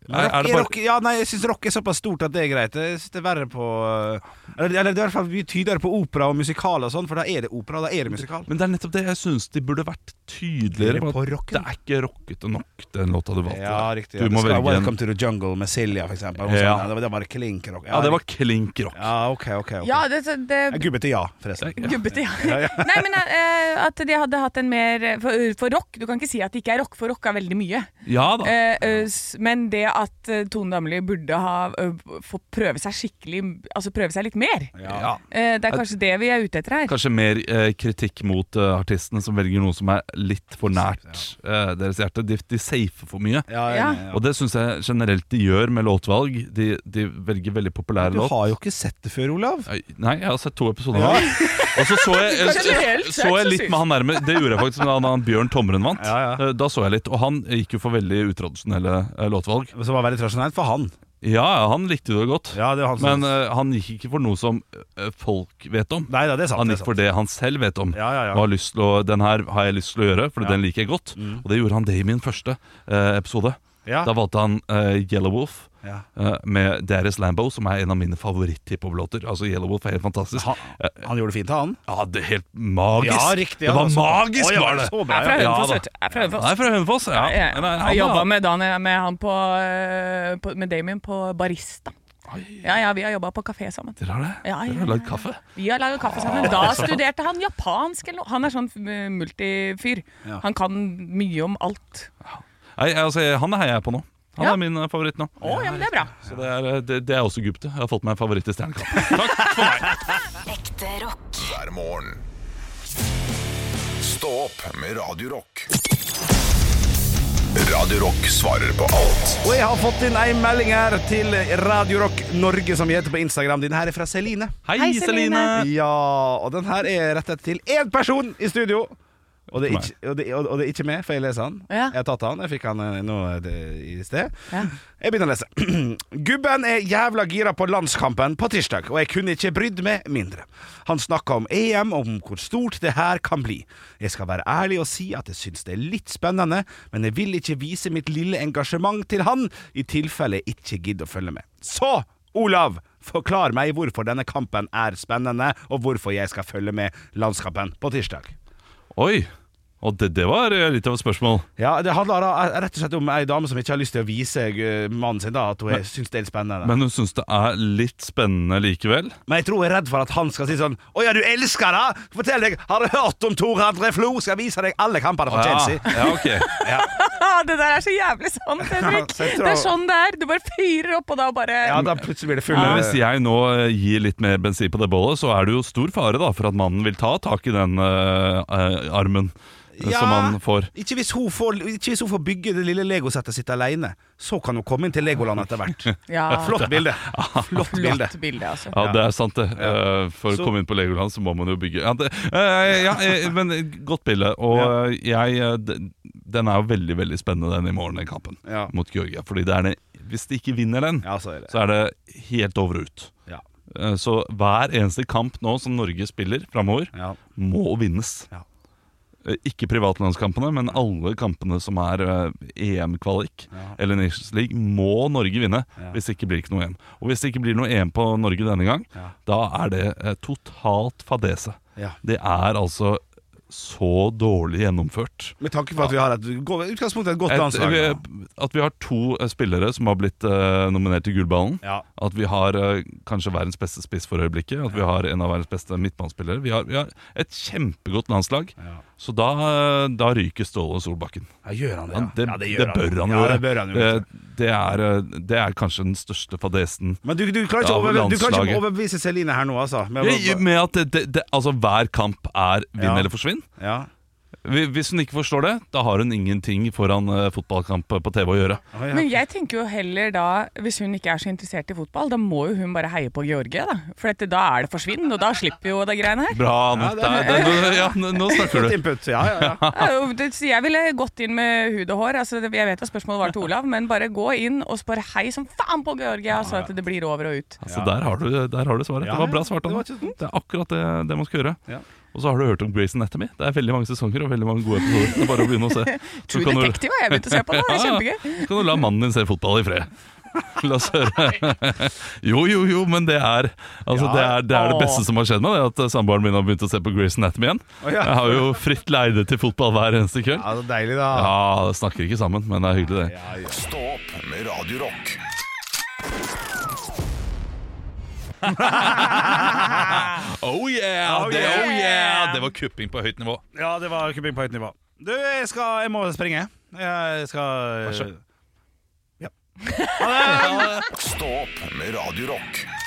[SPEAKER 3] Men
[SPEAKER 5] Er- er
[SPEAKER 3] Rock,
[SPEAKER 5] det bare-
[SPEAKER 3] rock, ja, nei, jeg syns rock er såpass stort at det er greit. Jeg synes det er verre på eh, Eller, eller det er i hvert fall mye tydeligere på opera og musikal og sånn, for da er det opera, da er det musikal.
[SPEAKER 5] Men det er nettopp det jeg syns de burde vært tydeligere på. at Det er ikke rockete nok, den låta du valgte.
[SPEAKER 3] Ja,
[SPEAKER 5] der.
[SPEAKER 3] riktig.
[SPEAKER 5] Du
[SPEAKER 3] Ja.
[SPEAKER 5] må
[SPEAKER 3] det skal være
[SPEAKER 5] velge en-
[SPEAKER 3] Welcome to the jungle med Silja, for eksempel. Og
[SPEAKER 5] Ja.
[SPEAKER 3] Sånn, ja, det var- det var klink rock.
[SPEAKER 5] ja, det var klink rock.
[SPEAKER 3] Ja, ok, ok. ok.
[SPEAKER 4] Ja, det, det,
[SPEAKER 3] Jeg gubbet til ja, forresten.
[SPEAKER 4] Gubbete, ja. Nei, men eh, at de hadde hatt en eh, mer for, for rock Du kan ikke si at det ikke er rock, for rock er veldig mye.
[SPEAKER 5] Ja da.
[SPEAKER 4] Eh, eh, s- men det at eh, Tone Damli burde ha eh, få prøve seg skikkelig Altså prøve seg litt mer.
[SPEAKER 5] Ja.
[SPEAKER 4] Eh, Det er kanskje det vi er ute etter her.
[SPEAKER 5] Kanskje mer eh, kritikk mot eh, artistene som velger noe som er litt for nært eh, deres hjerte. De, de safer for mye.
[SPEAKER 4] Ja.
[SPEAKER 5] Og det syns jeg generelt de gjør med låtvalg. De, de velger veldig populære
[SPEAKER 3] Du
[SPEAKER 5] låt.
[SPEAKER 3] har jo ikke sett det før, Olav.
[SPEAKER 5] Nei, jeg har sett to episoder. av det. Og så så jeg,
[SPEAKER 4] Generelt
[SPEAKER 5] så,
[SPEAKER 4] sett
[SPEAKER 5] så jeg
[SPEAKER 4] så
[SPEAKER 5] litt
[SPEAKER 4] syns-
[SPEAKER 5] med han nærme. Det gjorde jeg faktisk da han, han Bjørn Tomren vant.
[SPEAKER 3] Ja,
[SPEAKER 5] Eh, Da så jeg litt, og han gikk jo for veldig utradisjonelle eh, låtvalg.
[SPEAKER 3] Som var veldig tradisjonelt for han.
[SPEAKER 5] Ja, ja, han likte det godt,
[SPEAKER 3] Ja, det er han som
[SPEAKER 5] men eh, han gikk ikke for noe som eh, folk vet om.
[SPEAKER 3] Nei da, det er sant.
[SPEAKER 5] Han
[SPEAKER 3] det er sant.
[SPEAKER 5] gikk for det han selv vet om.
[SPEAKER 3] Ja, ja, ja.
[SPEAKER 5] Og har lyst til å, den her har jeg lyst til å gjøre, for den liker jeg godt. Og det gjorde han det i min første eh, episode.
[SPEAKER 3] Mm. Ja.
[SPEAKER 5] Da valgte han eh, Yellow Wolf
[SPEAKER 3] Ja.
[SPEAKER 5] eh, med Darius Lambo, som er en av mine favoritt-hiphop-låter. Altså, Yellow Wolf er helt fantastisk.
[SPEAKER 3] Han, han gjorde det fint, han.
[SPEAKER 5] Ja, det er helt magisk.
[SPEAKER 3] Ja, riktig, ja,
[SPEAKER 5] det var
[SPEAKER 3] altså.
[SPEAKER 5] magisk,
[SPEAKER 3] Å, ja,
[SPEAKER 5] var det.
[SPEAKER 3] så bra,
[SPEAKER 4] Jeg er fra
[SPEAKER 5] Ja,
[SPEAKER 4] Hønefoss,
[SPEAKER 5] da.
[SPEAKER 4] vet du. Jeg er fra
[SPEAKER 5] Nei,
[SPEAKER 4] Hønefoss.
[SPEAKER 5] fra Hønefoss. Ja.
[SPEAKER 4] Jeg
[SPEAKER 5] Nei, han
[SPEAKER 4] har jobba
[SPEAKER 5] var-
[SPEAKER 4] med, Dan- med han på, eh, på Med Damien på Barista. Ja, ja, vi har jobba på kafé sammen.
[SPEAKER 5] Dere har det?
[SPEAKER 4] Ja, ja,
[SPEAKER 5] Dere har
[SPEAKER 4] ja,
[SPEAKER 5] lagd kaffe?
[SPEAKER 4] Vi har laget kaffe sammen.
[SPEAKER 5] <laughs>
[SPEAKER 4] Da studerte han japansk eller noe. Han er sånn eh, multifyr. Han kan mye om alt.
[SPEAKER 5] Nei, altså, jeg- han heier jeg på nå. Han
[SPEAKER 4] Ja.
[SPEAKER 5] er min eh, favoritt nå.
[SPEAKER 4] Å, ja, men det er bra.
[SPEAKER 5] Så det er, eh, det, det er også Gupte. Jeg har fått meg en favoritt i Stjernekamp.
[SPEAKER 12] Ekte rock.
[SPEAKER 9] hver morgen. Stå opp med Radio Rock. Radio Rock svarer på alt
[SPEAKER 3] Og jeg har fått inn ei melding her til Radio Rock Norge, som vi heter på Instagram. Din her er fra Celine.
[SPEAKER 5] Hei,
[SPEAKER 4] <laughs> Hei,
[SPEAKER 5] Celine!
[SPEAKER 3] Ja, og den her er rettet til én person i studio. Og det, er ikke, og, det, og og det er ikke meg, for jeg leser han.
[SPEAKER 4] Ja.
[SPEAKER 3] Jeg har tatt han, jeg fikk han eh, nå eh, det- i sted.
[SPEAKER 4] Ja.
[SPEAKER 3] Jeg begynner å lese. <clears throat> Gubben er jævla gira på landskampen på tirsdag, og jeg kunne ikke brydd meg mindre. Han snakka om EM, og om hvor stort det her kan bli. Jeg skal være ærlig og si at jeg syns det er litt spennende, men jeg vil ikke vise mitt lille engasjement til han, i tilfelle jeg ikke gidder å følge med. Så, Olav, forklar meg hvorfor denne kampen er spennende, og hvorfor jeg skal følge med landskampen på tirsdag.
[SPEAKER 5] Oi! Og det, det var eh, litt av et spørsmål.
[SPEAKER 3] Ja, Det handler da rett og slett om ei dame som ikke har lyst til å vise eh, mannen sin da, at hun syns det er litt spennende.
[SPEAKER 5] Men hun syns det er litt spennende likevel.
[SPEAKER 3] Men jeg tror jeg er redd for at han skal si sånn Å ja, du elsker det? Fortell deg, har du hørt om Tor André Flo? Skal jeg vise deg alle kampene for Chelsea?
[SPEAKER 5] Ja, ja,
[SPEAKER 3] <laughs>
[SPEAKER 5] ok
[SPEAKER 4] Ah, det der er så jævlig sant, Henrik.
[SPEAKER 3] Så jeg tror-
[SPEAKER 4] Det er sånn det er. Du bare fyrer opp, og da bare
[SPEAKER 3] Ja, da plutselig blir det full
[SPEAKER 5] Men hvis jeg nå eh, gir litt mer bensin på det bollet, så er det jo stor fare da for at mannen vil ta tak i den eh, eh, armen eh,
[SPEAKER 3] Ja.
[SPEAKER 5] som han får.
[SPEAKER 3] Ikke hvis, hun får, ikke hvis hun får bygge det lille legosettet sitt alene. Så kan hun komme inn til Legoland etter hvert.
[SPEAKER 5] <laughs>
[SPEAKER 4] Ja.
[SPEAKER 3] Flott bilde. Flott bilde.
[SPEAKER 4] Flott bilde, altså.
[SPEAKER 5] Ja, det er sant, det. Eh, For
[SPEAKER 3] Så-
[SPEAKER 5] å komme inn på Legoland så må man jo bygge ja, det, eh, ja, eh, Men godt bilde. Og eh, jeg eh, d- Den er jo veldig veldig spennende, den i morgen, den kampen
[SPEAKER 3] Ja.
[SPEAKER 5] mot Georgia. Fordi det er det, hvis de ikke vinner den,
[SPEAKER 3] Ja, så er det.
[SPEAKER 5] så er det helt over og ut.
[SPEAKER 3] Ja.
[SPEAKER 5] Eh, Så hver eneste kamp nå som Norge spiller framover,
[SPEAKER 3] Ja.
[SPEAKER 5] må vinnes.
[SPEAKER 3] Ja.
[SPEAKER 5] Eh, Ikke privatlandskampene, men alle kampene som er eh, EM-kvalik eller Nations League, må Norge vinne. Hvis ikke blir det ikke noe EM. Og hvis det ikke blir noe EM på Norge denne gang, da er det eh, totalt fadese.
[SPEAKER 3] Ja.
[SPEAKER 5] Det er altså så dårlig gjennomført.
[SPEAKER 3] Med tanke på at vi har et go- utgangspunktet et godt
[SPEAKER 5] Et,
[SPEAKER 3] landslag.
[SPEAKER 5] vi,
[SPEAKER 3] da.
[SPEAKER 5] at vi har to eh, spillere som har blitt eh, nominert til Gullballen.
[SPEAKER 3] Ja.
[SPEAKER 5] At vi har eh, kanskje verdens beste spiss for øyeblikket. At vi har en av verdens beste midtbanespillere. Vi har, vi har et kjempegodt landslag. Så da, eh, da ryker Ståle Solbakken.
[SPEAKER 3] Ja, gjør han det?
[SPEAKER 5] Han,
[SPEAKER 3] ja?
[SPEAKER 5] det,
[SPEAKER 3] ja,
[SPEAKER 5] det,
[SPEAKER 3] gjør
[SPEAKER 5] bør han
[SPEAKER 3] Ja,
[SPEAKER 5] gjøre. Eh,
[SPEAKER 3] det bør han
[SPEAKER 5] det,
[SPEAKER 3] gjøre.
[SPEAKER 5] det, er, eh, det er kanskje den største fadesen.
[SPEAKER 3] Men du, du klarer ikke å
[SPEAKER 5] Ja, men
[SPEAKER 3] overbe- du klarer ikke
[SPEAKER 5] landslaget.
[SPEAKER 3] å overbevise Celine her nå, altså. Med,
[SPEAKER 5] Jeg- Med at det, det, det, altså hver kamp er vinn
[SPEAKER 3] Ja.
[SPEAKER 5] eller forsvinn.
[SPEAKER 3] ja.
[SPEAKER 5] Hvi- Hvis hun ikke forstår det, da har hun ingenting foran eh, fotballkamp på TV å gjøre.
[SPEAKER 3] Å, ja.
[SPEAKER 4] Men jeg tenker jo heller da, hvis hun ikke er så interessert i fotball, da må jo hun bare heie på Georgie, da. For dette, da er det forsvinn, og da slipper jo det greiene her.
[SPEAKER 5] Bra, Anne. Der- der- nå- ja, nå nå snakker
[SPEAKER 3] Godt
[SPEAKER 5] du.
[SPEAKER 3] input. Ja, ja, ja.
[SPEAKER 4] Ja, jo, det- så Jeg ville gått inn med hud og hår. Altså, det- jeg vet at spørsmålet var til Olav, men bare gå inn og spør hei som faen på Georgia, så at det blir over og ut.
[SPEAKER 5] Altså, der, har du, der har du svaret.
[SPEAKER 3] Ja,
[SPEAKER 5] det var bra svart.
[SPEAKER 3] det
[SPEAKER 5] Anne.
[SPEAKER 3] var
[SPEAKER 5] Det,
[SPEAKER 3] ikke dumt.
[SPEAKER 5] er akkurat det, det man skal gjøre.
[SPEAKER 3] Ja.
[SPEAKER 5] Og så har du hørt om Grey's Anatomy. Det er veldig mange sesonger og veldig mange gode episoder. Det er bare å begynne å
[SPEAKER 3] <laughs>
[SPEAKER 5] se. Så
[SPEAKER 4] True
[SPEAKER 5] kan du-
[SPEAKER 4] Detective har jeg begynt å se på nå, det er
[SPEAKER 5] Ja,
[SPEAKER 4] kjempegøy.
[SPEAKER 5] ja. Så kan du la mannen din se fotball i fred. <laughs> La oss høre. Jo, jo, jo, men det er altså, det, er, det, er det beste som har skjedd meg, det er at eh, samboeren min har begynt å se på Grey's Anatomy igjen.
[SPEAKER 3] Å, ja.
[SPEAKER 5] Jeg har jo fritt leide til fotball hver eneste kveld.
[SPEAKER 3] ja, det er deilig, da.
[SPEAKER 5] Ja, det snakker ikke sammen, men det er hyggelig, det.
[SPEAKER 9] Stå opp med Radio Rock
[SPEAKER 5] Oh yeah! Det, oh yeah! det var kupping på høyt nivå.
[SPEAKER 3] Ja, det var kupping på høyt nivå. Du, jeg skal Jeg må springe. Jeg skal
[SPEAKER 5] så god.
[SPEAKER 3] Ja.
[SPEAKER 9] Stå opp med Radio Rock.